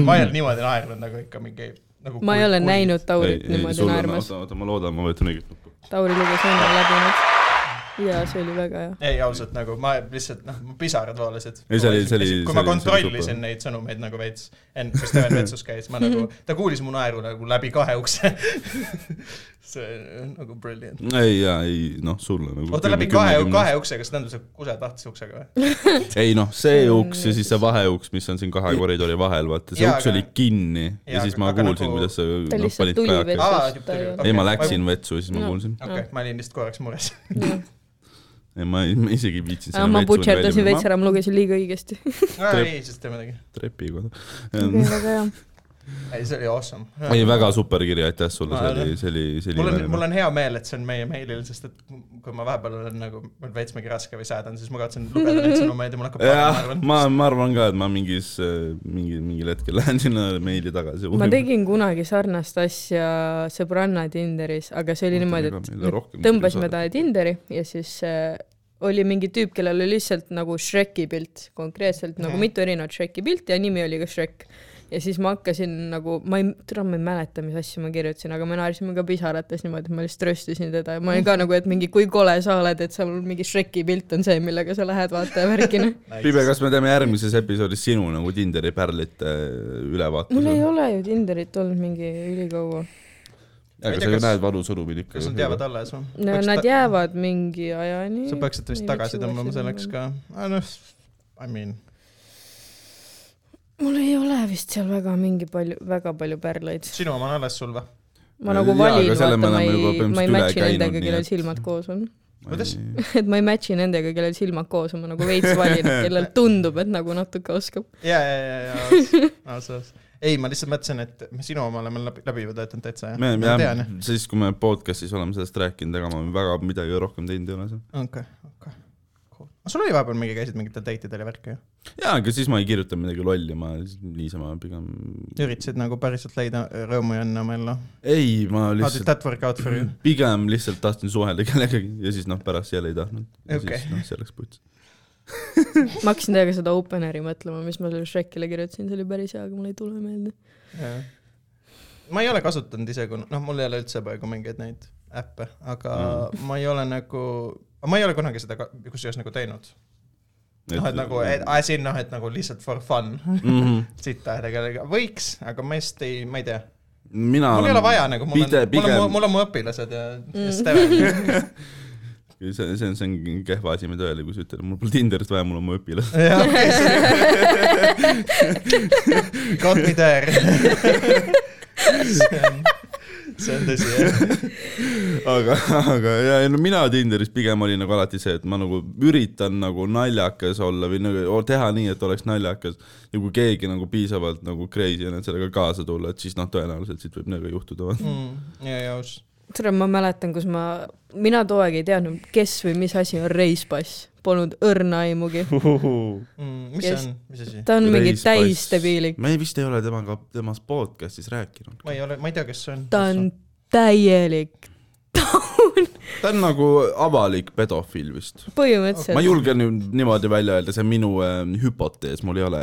Speaker 2: ma ei ole niimoodi naernud nagu ikka mingi nagu .
Speaker 1: ma ei ole . näinud Taurit niimoodi naermas .
Speaker 3: oota , oota , ma loodan , ma võtan õiget nuppu .
Speaker 1: Tauri luges enne läbi nüüd . jaa , see oli väga hea .
Speaker 2: ei , ausalt nagu ma lihtsalt noh , mu pisarad voolasid .
Speaker 3: Ei, see oli- see oli-
Speaker 2: kui ma
Speaker 3: see oli- see oli super.
Speaker 2: kontrollisin neid sõnumeid nagu veits , enne kui Steven vetsus käis , ma nagu , ta kuulis mu naeru nagu läbi kahe ukse . see on nagu brilliant .
Speaker 3: ei , jaa , ei noh , sulle nagu .
Speaker 2: oota , läbi kahe , kahe uksega , kas tähendab see kuse tahtis uksega või ?
Speaker 3: ei noh , see uks ja siis see vaheuks , mis on siin kahe koridori vahel , vaata , see
Speaker 2: Jaa,
Speaker 3: uks
Speaker 2: aga-
Speaker 3: oli kinni ja
Speaker 2: jaa,
Speaker 3: siis ma
Speaker 2: aga nagu-
Speaker 3: kuulsin , kuidas sa
Speaker 1: ta
Speaker 3: noh,
Speaker 1: lihtsalt
Speaker 3: panid
Speaker 1: tuli
Speaker 3: kajaka .
Speaker 2: Aa,
Speaker 1: vetsust .
Speaker 2: tuli-
Speaker 3: ei , ma
Speaker 2: okei,
Speaker 3: läksin vetsu ja siis ma
Speaker 1: No.
Speaker 3: kuulsin .
Speaker 2: okei okay, , ma olin lihtsalt korraks mures .
Speaker 3: ei , ma ei- ma isegi ei viitsinud
Speaker 1: ma butšerdasin veits . ära , ma lugesin liiga õigesti .
Speaker 2: ei , siis tee midagi .
Speaker 3: trepikoda .
Speaker 1: väga hea .
Speaker 2: ei , see oli awesome .
Speaker 3: ei , väga super kiri , aitäh
Speaker 2: Ma-
Speaker 3: sulle , see oli , see oli , see
Speaker 2: mul on ,
Speaker 3: oli
Speaker 2: mul . on hea meel , et see on meie meilil , sest et kui ma vahepeal olen nagu , mul veits mingi raske või säädan , siis ma kavatsen lugeda neid sõnumeid ja mul hakkab
Speaker 3: jah
Speaker 2: parem ,
Speaker 3: ma
Speaker 2: arvan .,
Speaker 3: ma arvan ka , et ma mingis , mingi , mingil hetkel lähen sinna meili tagasi .
Speaker 1: ma tegin kunagi sarnast asja sõbranna Tinderis , aga see oli niimoodi , et tõmbasime ta . Tinderi ja siis äh, oli mingi tüüp , kellel oli lihtsalt nagu Shreki pilt , konkreetselt nagu
Speaker 2: Mhm.
Speaker 1: mitu erinevat Shreki pilti ja nimi oli ka Shrek . ja siis ma hakkasin nagu , ma ei , täna ma ei mäleta , mis asju ma kirjutasin , aga me naersime ka pisarates niimoodi , et ma lihtsalt röstisin teda ja ma olin ka nagu , et mingi kui kole sa oled , et seal mingi Shreki pilt on see , millega sa lähed vaata ja värkina .
Speaker 3: Pibe , kas me teeme järgmises episoodis sinu nagu Tinderi pärlite äh, ülevaate ?
Speaker 1: mul ei ole ju Tinderit olnud mingi ülikaua .
Speaker 2: Ma ei
Speaker 3: aga
Speaker 2: tea,
Speaker 3: sa ju
Speaker 2: kas-
Speaker 3: näed varu sõnumil ikka .
Speaker 2: kas nad jäävad alles või ?
Speaker 1: no nad jäävad mingi ajani .
Speaker 2: sa peaksid vist tagasi tõmbama selleks . ka . noh , I mean ,
Speaker 1: mul ei ole vist seal väga mingi palju , väga palju pärleid .
Speaker 2: sinu oma on alles sul või ?
Speaker 1: ma nagu
Speaker 3: Jaa,
Speaker 1: valin ,
Speaker 3: aga selle
Speaker 1: vaata
Speaker 3: me ,
Speaker 1: ma
Speaker 3: oleme juba
Speaker 1: ei , ma ei
Speaker 3: põhimõtteliselt üle
Speaker 1: match'i
Speaker 3: käinud,
Speaker 1: nendega ,
Speaker 3: nii
Speaker 1: kellel
Speaker 3: et-
Speaker 1: silmad koos on .
Speaker 2: Kuidas? ?
Speaker 1: et ma ei match'i nendega , kellel silmad koos on , ma nagu veits valin , kellel tundub , et nagu natuke oskab .
Speaker 2: ja , ja , ja , ja , ausalt . ei , ma lihtsalt mõtlesin , et me sinu oma oleme läbi , läbi juba töötanud täitsa ja .
Speaker 3: me , me jääme , siis kui me podcast'is oleme sellest rääkinud , ega ma väga midagi rohkem teinud ei ole seal .
Speaker 2: okei , okei . aga sul oli vahepeal mingi , käisid mingitel date idel ja värki ju ?
Speaker 3: jaa , aga siis ma ei kirjuta midagi lolli , ma niisama pigem .
Speaker 2: üritasid nagu päriselt leida rõõmu ja õnne oma ellu ?
Speaker 3: ei , ma
Speaker 2: How did
Speaker 3: lihtsalt ,
Speaker 2: that work out for you ?
Speaker 3: pigem lihtsalt tahtsin suhelda kellegagi ja siis noh , pärast jälle ei tahtnud . ja
Speaker 2: Okei.
Speaker 3: siis noh , see läks putsi .
Speaker 1: ma hakkasin teiega seda openeri mõtlema , mis ma sellele Shrekile kirjutasin , see oli päris hea , aga mul ei tule meelde .
Speaker 2: ma ei ole kasutanud ise , kuna noh , mul ei ole üldse praegu mingeid neid äppe , aga mm. ma ei ole nagu , ma ei ole kunagi seda ka- kusjuures nagu teinud . noh , et nagu , et as in noh , et nagu lihtsalt for fun
Speaker 3: Mhm.
Speaker 2: siit tähega võiks , aga ma just ei , ma ei tea .
Speaker 3: mina
Speaker 2: mul ei ole vaja nagu , mul
Speaker 3: pide-
Speaker 2: on , mul on
Speaker 3: pigem- ,
Speaker 2: mul on mu õpilased ja
Speaker 1: Mm.
Speaker 2: ja Steven .
Speaker 3: see , see on , see on kehva asi , ma tõele , kui sa ütled , mul pole Tinderit vaja , mul on mu õpilased .
Speaker 2: jah , okei , see on . Got me there . see on , see on tõsi jah .
Speaker 3: aga , aga ja ei no mina Tinderis pigem olin nagu alati see , et ma nagu üritan nagu naljakas olla või nagu o- teha nii , et oleks naljakas . ja kui keegi nagu piisavalt nagu crazy on , et sellega kaasa tulla , et siis noh , tõenäoliselt siit võib nagu juhtuda .
Speaker 2: Mm, ja , ja aus .
Speaker 1: tere , ma mäletan , kus ma , mina too aeg ei teadnud , kes või mis asi on reispass , polnud õrna aimugi .
Speaker 2: Mm, mis see
Speaker 1: Yes.
Speaker 2: on , mis asi ?
Speaker 1: ta on mingi täistebiilik ,
Speaker 3: me ei- vist ei ole temaga , temast podcast'is rääkinud .
Speaker 2: ma ei ole , ma ei tea , kes see on .
Speaker 1: ta on täielik taun ,
Speaker 3: ta on nagu avalik pedofiil vist . ma
Speaker 1: põhimõtteliselt .
Speaker 3: julgen nüüd niimoodi välja öelda , see on minu äh, hüpotees , mul ei ole .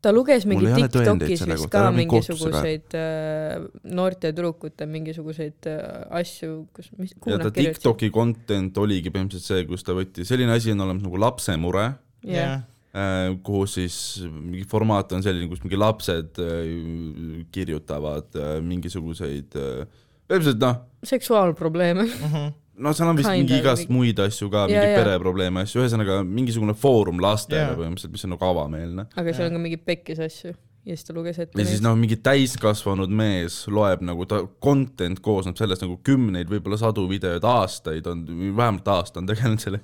Speaker 1: ta luges
Speaker 3: Mul
Speaker 1: mingi
Speaker 3: ei ole tõendeid
Speaker 1: Tiktokis
Speaker 3: selle
Speaker 1: vist
Speaker 3: kohta, ära
Speaker 1: ka
Speaker 3: mind kohtusse
Speaker 1: mingisuguseid äh, noorte tüdrukute mingisuguseid äh, asju , kus , mis , kuhu
Speaker 3: ja ta
Speaker 1: nad kirjutasid .
Speaker 3: Tiktoki content oligi põhimõtteliselt see , kus ta võttis , selline asi on olemas nagu lapsemure
Speaker 1: jah ,
Speaker 3: äh, kuhu siis mingi formaat on selline , kus mingi lapsed äh, kirjutavad äh, mingisuguseid äh, , põhimõtteliselt noh ,
Speaker 1: seksuaalprobleeme .
Speaker 3: no seal on vist
Speaker 1: Kinda
Speaker 3: mingi
Speaker 1: või
Speaker 3: igast
Speaker 1: mingi-
Speaker 3: muid asju ka ,
Speaker 1: Jaa,
Speaker 3: mingi
Speaker 1: jaa.
Speaker 3: pereprobleeme asju , ühesõnaga mingisugune foorum lastele
Speaker 2: Jaa.
Speaker 3: yeah. põhimõtteliselt , mis on nagu avameelne .
Speaker 1: aga seal on ka mingi pekkis asju ja siis ta luges ette
Speaker 3: ja siis
Speaker 1: neid .
Speaker 3: noh , mingi täiskasvanud mees loeb nagu ta content koosneb sellest nagu kümneid , võib-olla sadu videoid , aastaid on , vähemalt aasta on tegelenud selle ,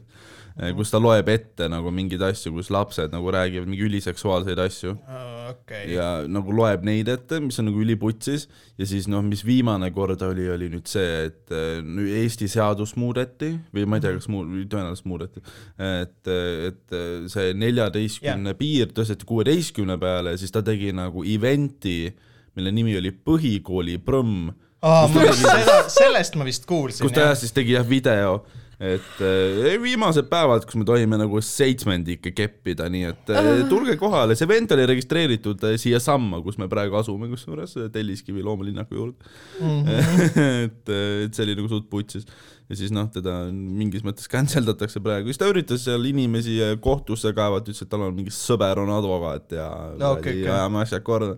Speaker 3: kus ta loeb ette nagu mingeid asju , kus lapsed nagu räägivad mingi üliseksuaalseid asju
Speaker 2: Ah, okei .
Speaker 3: ja nagu loeb neid ette , mis on nagu üliputsis ja siis noh , mis viimane kord oli , oli nüüd see , et eh, nüüd Eesti seadus muudeti või ma ei tea , kas muu- , tõenäoliselt muudeti , et , et eh, see neljateistkümne piir tõsteti kuueteistkümne peale ja siis ta tegi nagu event'i , mille nimi oli Põhikooli prõmm ,
Speaker 2: aa , ma vist seda , sellest ma vist kuulsin .
Speaker 3: kus ta jah siis tegi jah video , et eh, viimased päevad , kus me tohime nagu seitsmendikke keppida , nii et eh, tulge kohale , see event oli registreeritud eh, siiasamma , kus me praegu asume , kusjuures eh, Telliskivi loomalinnaku juurde
Speaker 1: Mhm.
Speaker 3: mm . -hmm. et , et see oli nagu suht putsis ja siis noh , teda mingis mõttes cancel datakse praegu , siis ta üritas seal inimesi eh, kohtusse kaevata , ütles , et tal on mingi sõber on advokaat ja
Speaker 2: No okei, okei.
Speaker 3: ajame asjad korda .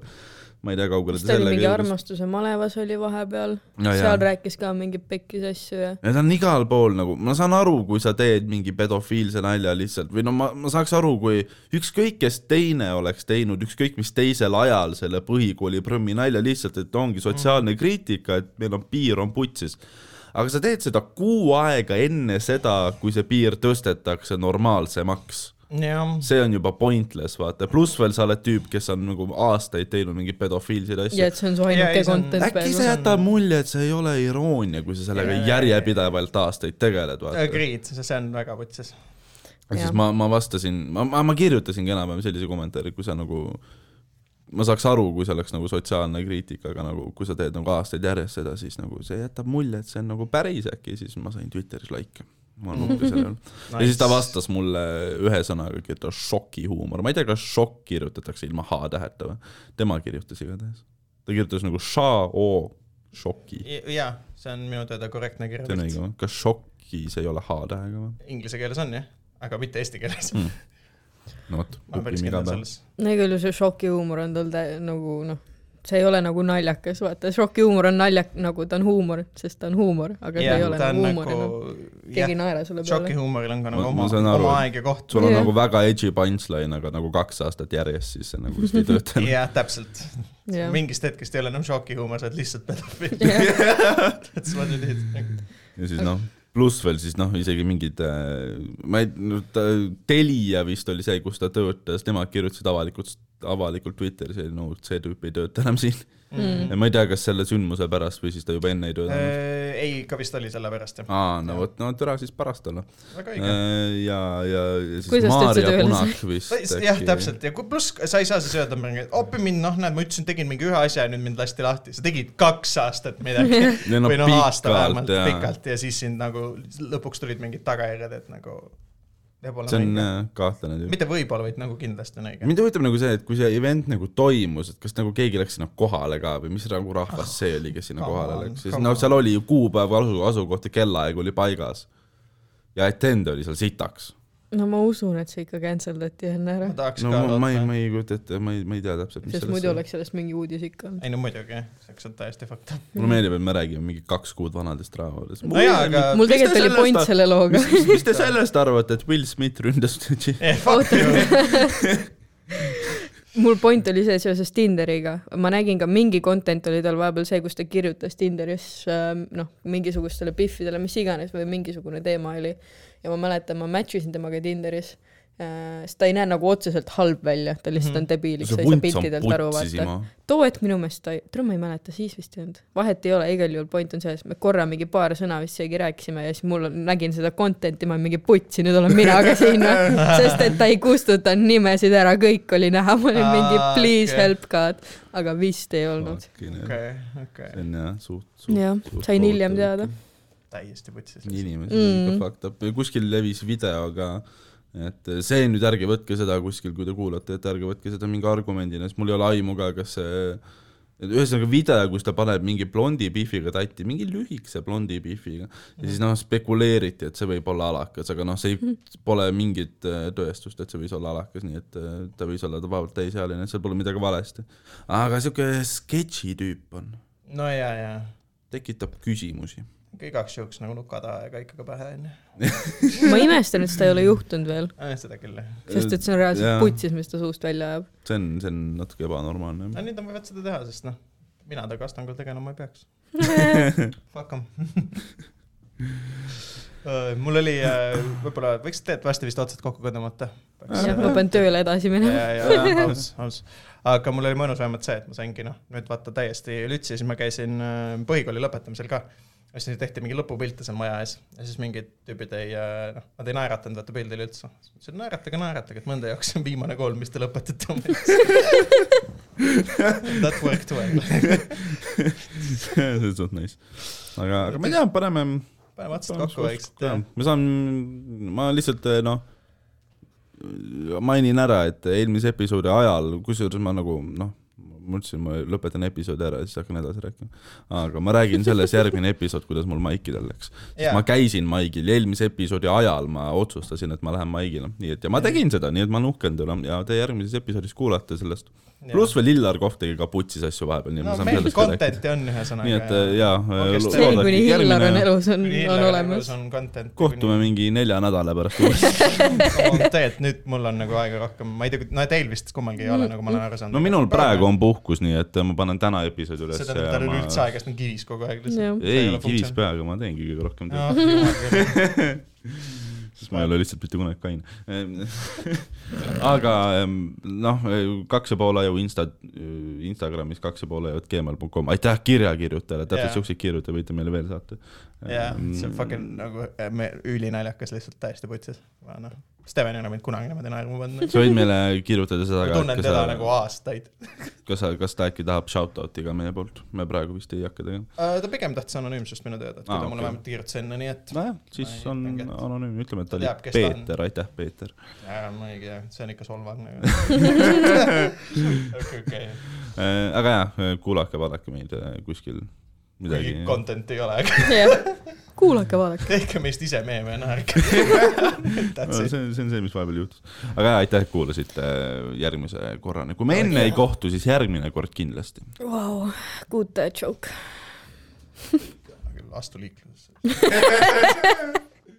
Speaker 3: ma ei tea , kaugele
Speaker 1: siis ta
Speaker 3: ta
Speaker 1: oli mingi
Speaker 3: sellega jõudis .
Speaker 1: armastuse malevas oli vahepeal
Speaker 3: No
Speaker 1: no, ,
Speaker 3: jaa.
Speaker 1: seal rääkis ka mingi pekkis asju ja
Speaker 3: Need on igal pool nagu , ma saan aru , kui sa teed mingi pedofiilse nalja lihtsalt või no ma , ma saaks aru , kui ükskõik kes teine oleks teinud ükskõik mis teisel ajal selle põhikooli prõmmi nalja lihtsalt , et ongi sotsiaalne kriitika , et meil on piir on putsis . aga sa teed seda kuu aega enne seda , kui see piir tõstetakse normaalsemaks
Speaker 2: jah ,
Speaker 3: see on juba pointless , vaata , pluss veel sa oled tüüp , kes on nagu aastaid teinud mingeid pedofiilseid asju
Speaker 1: ja . et see on su
Speaker 2: Jaa, ei,
Speaker 1: ainuke
Speaker 2: see on-
Speaker 1: content
Speaker 3: äkki see
Speaker 1: peaaegu .
Speaker 3: jätab mulje , et see ei ole iroonia , kui sa sellega
Speaker 2: Jaa.
Speaker 3: järjepidevalt aastaid tegeled , vaata .
Speaker 2: agreed , Äh, see on väga putsis .
Speaker 3: siis
Speaker 1: Jah.
Speaker 3: ma , ma vastasin , ma, ma , ma kirjutasingi enam-vähem sellise kommentaari , kui sa nagu , ma saaks aru , kui see oleks nagu sotsiaalne kriitika , aga nagu kui sa teed nagu aastaid järjest seda , siis nagu see jätab mulje , et see on nagu päris äkki , siis ma sain Twitteris likee . ma olen uhke selle üle . ja siis ta vastas mulle ühe sõnaga , et šokihuumor , ma ei tea , kas šokk kirjutatakse ilma h-täheta või , tema kirjutas igatahes . ta kirjutas nagu ša-o šoki .
Speaker 2: jaa , see on minu teada korrektne
Speaker 3: see on
Speaker 2: kirjeldus .
Speaker 3: õige või ? kas šokis ei ole H-tähega või ?
Speaker 2: Inglise keeles on jah , aga mitte eesti keeles .
Speaker 3: no vot ,
Speaker 2: ma olen päris
Speaker 3: õpime iga
Speaker 2: kindel
Speaker 3: päev .
Speaker 2: selles .
Speaker 1: no igal juhul see šokihuumor on tal tä- nagu noh , see ei ole nagu naljakas , vaata šokihuumor on naljak- , nagu ta on huumor , sest ta on huumor , aga see ei ole
Speaker 2: ta on
Speaker 1: nagu huumor
Speaker 2: nagu
Speaker 1: enam ., keegi ei
Speaker 2: jah ,
Speaker 1: naera sulle peale .
Speaker 2: šokihuumoril on ka
Speaker 3: Ma-
Speaker 2: nagu
Speaker 3: ma
Speaker 2: oma ,
Speaker 3: saan aru,
Speaker 2: oma
Speaker 3: et-
Speaker 2: aeg ja koht .
Speaker 3: sul on
Speaker 1: Jah.
Speaker 3: nagu väga edgy punchline , aga nagu kaks aastat järjest , siis see nagu vist ei tööta enam .
Speaker 2: jah , täpselt .
Speaker 1: jah ,
Speaker 2: mingist hetkest ei ole enam šokihuumor , sa oled lihtsalt pedofiil . sa oled nüüd lihtsalt .
Speaker 3: ja siis noh , pluss veel siis noh , isegi mingid , ma ei , no ta , Telia vist oli see , kus ta töötas , nemad kirjutasid avalikult , avalikult Twitteris , et no see tüüp ei tööta enam siin .
Speaker 1: Mm.
Speaker 3: ma ei tea , kas selle sündmuse pärast või siis ta juba enne ei
Speaker 2: Äh,
Speaker 3: töötanud .
Speaker 2: ei , ikka vist oli sellepärast jah .
Speaker 3: aa , no vot , no türa siis pärast olla .
Speaker 2: väga õige .
Speaker 3: ja , ja , ja siis
Speaker 1: Kuidas ta üldse
Speaker 3: Maarja
Speaker 1: tööle sai?
Speaker 3: Punak vist .
Speaker 2: jah , täpselt ja kui- pluss sa ei saa siis öelda mingi , appi mind , noh , näed , ma ütlesin , tegin mingi ühe asja ja nüüd mind lasti lahti , sa tegid kaks aastat midagi
Speaker 3: Ja no
Speaker 2: või noh , aasta
Speaker 3: pikalt,
Speaker 2: vähemalt
Speaker 3: jaa.
Speaker 2: pikalt ja siis sind nagu lõpuks tulid mingid tagajärjed , et nagu võib-olla
Speaker 3: see on
Speaker 2: on õige .
Speaker 3: äh, kahtlane tüüp .
Speaker 2: mitte võib-olla , vaid nagu kindlasti on õige .
Speaker 3: mind huvitab nagu see , et kui see event nagu toimus , et kas nagu keegi läks sinna kohale ka või mis nagu rahvas see oli , kes sinna
Speaker 2: Ah, come
Speaker 3: kohale
Speaker 2: on,
Speaker 3: läks , sest
Speaker 2: come
Speaker 3: noh ,
Speaker 2: on.
Speaker 3: seal oli ju kuupäev , asu , asukoht ja kellaaeg oli paigas . ja etend oli seal sitaks .
Speaker 1: no ma usun , et see ikka cancel dati enne ära
Speaker 2: ma , tahaks
Speaker 3: no
Speaker 2: ka
Speaker 3: ma, ma ei ,
Speaker 2: loota .
Speaker 3: ma ei kujuta ette , ma ei , ma ei tea täpselt , mis
Speaker 1: sest muidu
Speaker 3: sellest .
Speaker 1: oleks sellest mingi uudis ikka olnud .
Speaker 2: ei no muidugi , see oleks olnud täiesti fakt .
Speaker 3: mulle meeldib , et me räägime mingi kaks kuud vanadest raamatus .
Speaker 2: No jaa, aga-
Speaker 3: Äh,
Speaker 1: mul tegelikult oli point selle looga .
Speaker 3: mis mis te sellest arvate , et Will Smith ründas
Speaker 1: Oota. mul point oli see seoses Tinderiga , ma nägin ka mingi content oli tal vahepeal see , kus ta kirjutas Tinderis ähm, noh , mingisugustele biffidele , mis iganes või mingisugune teema oli . ja ma mäletan , ma match isin temaga Tinderis äh, , sest ta ei näe nagu otseselt halb välja , ta
Speaker 3: Mhm.
Speaker 1: lihtsalt on debiiliks , sa ei saa piltidelt aru vaata . too hetk minu meelest ta , tule ma ei mäleta , siis vist ei olnud , vahet ei ole , igal juhul point on selles , me korra mingi paar sõna vist isegi rääkisime ja siis mul on , nägin seda content'i , ma olin mingi putsi , nüüd olen mina ka siin , sest et ta ei kustutanud nimesid ära , kõik oli näha , ma olin mingi
Speaker 2: Aa,
Speaker 1: please
Speaker 2: okei.
Speaker 1: help God , aga vist ei olnud .
Speaker 3: see
Speaker 2: okei , okei ,
Speaker 3: on jah , suht , suht .
Speaker 1: jah , sain hiljem teada .
Speaker 2: täiesti putsis .
Speaker 3: inimesed mm.
Speaker 1: Mm.
Speaker 3: ikka fucked up , kuskil levis video ka , et eh, see nüüd ärge võtke seda kuskil , kui te kuulate , et ärge võtke seda mingi argumendina , sest mul ei ole aimu ka , kas see et ühesõnaga video , kus ta paneb mingi blondi pihviga tatti , mingi lühikese blondi pihviga ja siis noh , spekuleeriti , et see võib olla alakas , aga noh , see
Speaker 1: Mhm.
Speaker 3: ei, pole mingit äh, tõestust , et see võis olla alakas , nii et äh, ta võis olla vabalt täisealine , seal pole midagi valesti . aga siuke sketši tüüp on ,
Speaker 2: no ja , ja
Speaker 3: tekitab küsimusi .
Speaker 2: Ikka igaks juhuks nagu nukataha ja kõik ka pähe onju .
Speaker 1: ma imestan , et seda ei ole juhtunud veel ,
Speaker 2: seda küll jah .
Speaker 1: sest et see on reaalselt
Speaker 3: Jaa.
Speaker 1: putsis , mis ta suust välja ajab .
Speaker 3: see on , see on natuke ebanormaalne .
Speaker 2: no nüüd nad võivad seda teha , sest noh , mina ta kastangul tegelema ei peaks . Fuck 'em Öö, mul oli , võib-olla võiks tegelikult varsti vist otsad kokku tõmmata .
Speaker 1: jah , ma pean tööle edasi minema .
Speaker 2: aus , aus . aga mul oli mõnus vähemalt see , et ma saingi noh , nüüd vaata täiesti lütsi , siis ma käisin öö, põhikooli lõpetamisel ka . ja siis tehti mingi lõpupilte seal maja ees ja siis mingid tüübid ei , noh , nad ei naeratanud vaata pildil üldse . ütlesin naeratage , naeratage , et mõnda jaoks see on viimane kool , mis te lõpetate oma elus . That worked well .
Speaker 3: see on suht nice . aga , aga ma ei tea , paneme .
Speaker 2: paneme otsad kokku vaikselt ja
Speaker 3: ma saan , ma lihtsalt noh , mainin ära , et eelmise episoodi ajal , kusjuures ma nagu noh , ma ütlesin , ma lõpetan episoodi ära ja siis hakkan edasi rääkima . aga ma räägin selles järgmine episood , kuidas mul maikidel läks . sest
Speaker 2: Jaa.
Speaker 3: ma käisin maigil ja eelmise episoodi ajal ma otsustasin , et ma lähen maigile , nii et ja ma tegin seda , nii et ma nuhkan teile ja te järgmises episoodis kuulate sellest . pluss veel Illar Kohv tegi ka putsis asju vahepeal , nii et
Speaker 2: no
Speaker 3: ma saan
Speaker 2: meil
Speaker 3: sellest ka rääkida .
Speaker 2: content'i on ühesõnaga .
Speaker 3: nii et äh, jaa .
Speaker 2: Kes teab?
Speaker 1: seni , kuni Hillar on elus , on , on olemas .
Speaker 2: on content'i .
Speaker 3: kohtume . mingi nelja nädala pärast uuesti .
Speaker 2: tegelikult nüüd mul on nagu aega rohkem , ma ei tea , no teil vist kummalgi ei ole , nagu ma olen aru saanud .
Speaker 3: no minul praegu on puhkus , nii et äh, ma panen täna episoodi üles .
Speaker 2: see tähendab , tal ei ole üldse aega , sest ta on kivis kogu aeg
Speaker 1: Jah.
Speaker 2: lihtsalt .
Speaker 3: ei , kivis . peaga ma teengi kõige rohkem
Speaker 2: Noh,
Speaker 3: tööd , sest ma ei ole lihtsalt mitte kunagi kaine . aga ähm, noh , kaks ja pool aju insta , Instagramis kaks ja pool ajavad gmail.com , aitäh kirjakirjutajale ,
Speaker 2: Jaa.
Speaker 3: täpselt siukseid kirju te võite meile veel saata . Ehm,
Speaker 2: jah ,
Speaker 3: Mm.
Speaker 2: see on fucking nagu äh, me- ülinaljakas lihtsalt täiesti putsis . noh , Steven ei ole mind kunagi niimoodi naerma pannud .
Speaker 3: sa võid meile kirjutada seda
Speaker 2: ma
Speaker 3: ka ,
Speaker 2: tunnen teda nagu aastaid .
Speaker 3: kas sa , kas ta äkki tahab shout-out'i ka meie poolt , me praegu vist ei hakka tegema .
Speaker 2: Äh, ta pigem tahtis anonüümsust minu teada , et kui
Speaker 3: Aa,
Speaker 2: ta mulle
Speaker 3: Ah, okei.
Speaker 2: vähemalt kirjutas enne , nii et
Speaker 3: nojah , siis
Speaker 2: Ma ei
Speaker 3: on
Speaker 2: mängi, et-
Speaker 3: anonüümne , ütleme , et ta
Speaker 2: Ta
Speaker 3: oli
Speaker 2: teab, kes ta on.
Speaker 3: Peeter , aitäh , Peeter .
Speaker 2: Jaa, ma ei tea , see on ikka solvang . okei , okei .
Speaker 3: Äh, aga jaa , kuulake , vaadake meid äh, kuskil midagi
Speaker 2: kuigi . content ei ole , aga
Speaker 1: kuulake , vaadake .
Speaker 2: tehke meist ise meeme ja naerge . That's
Speaker 3: see
Speaker 2: it .
Speaker 3: on , see on see , mis vahepeal juhtus . aga jaa , aitäh , et kuulasite äh, järgmise korrani , kui me enne ei kohtu , siis järgmine kord kindlasti .
Speaker 1: Vau , good uh, joke .
Speaker 2: astu liiklusesse .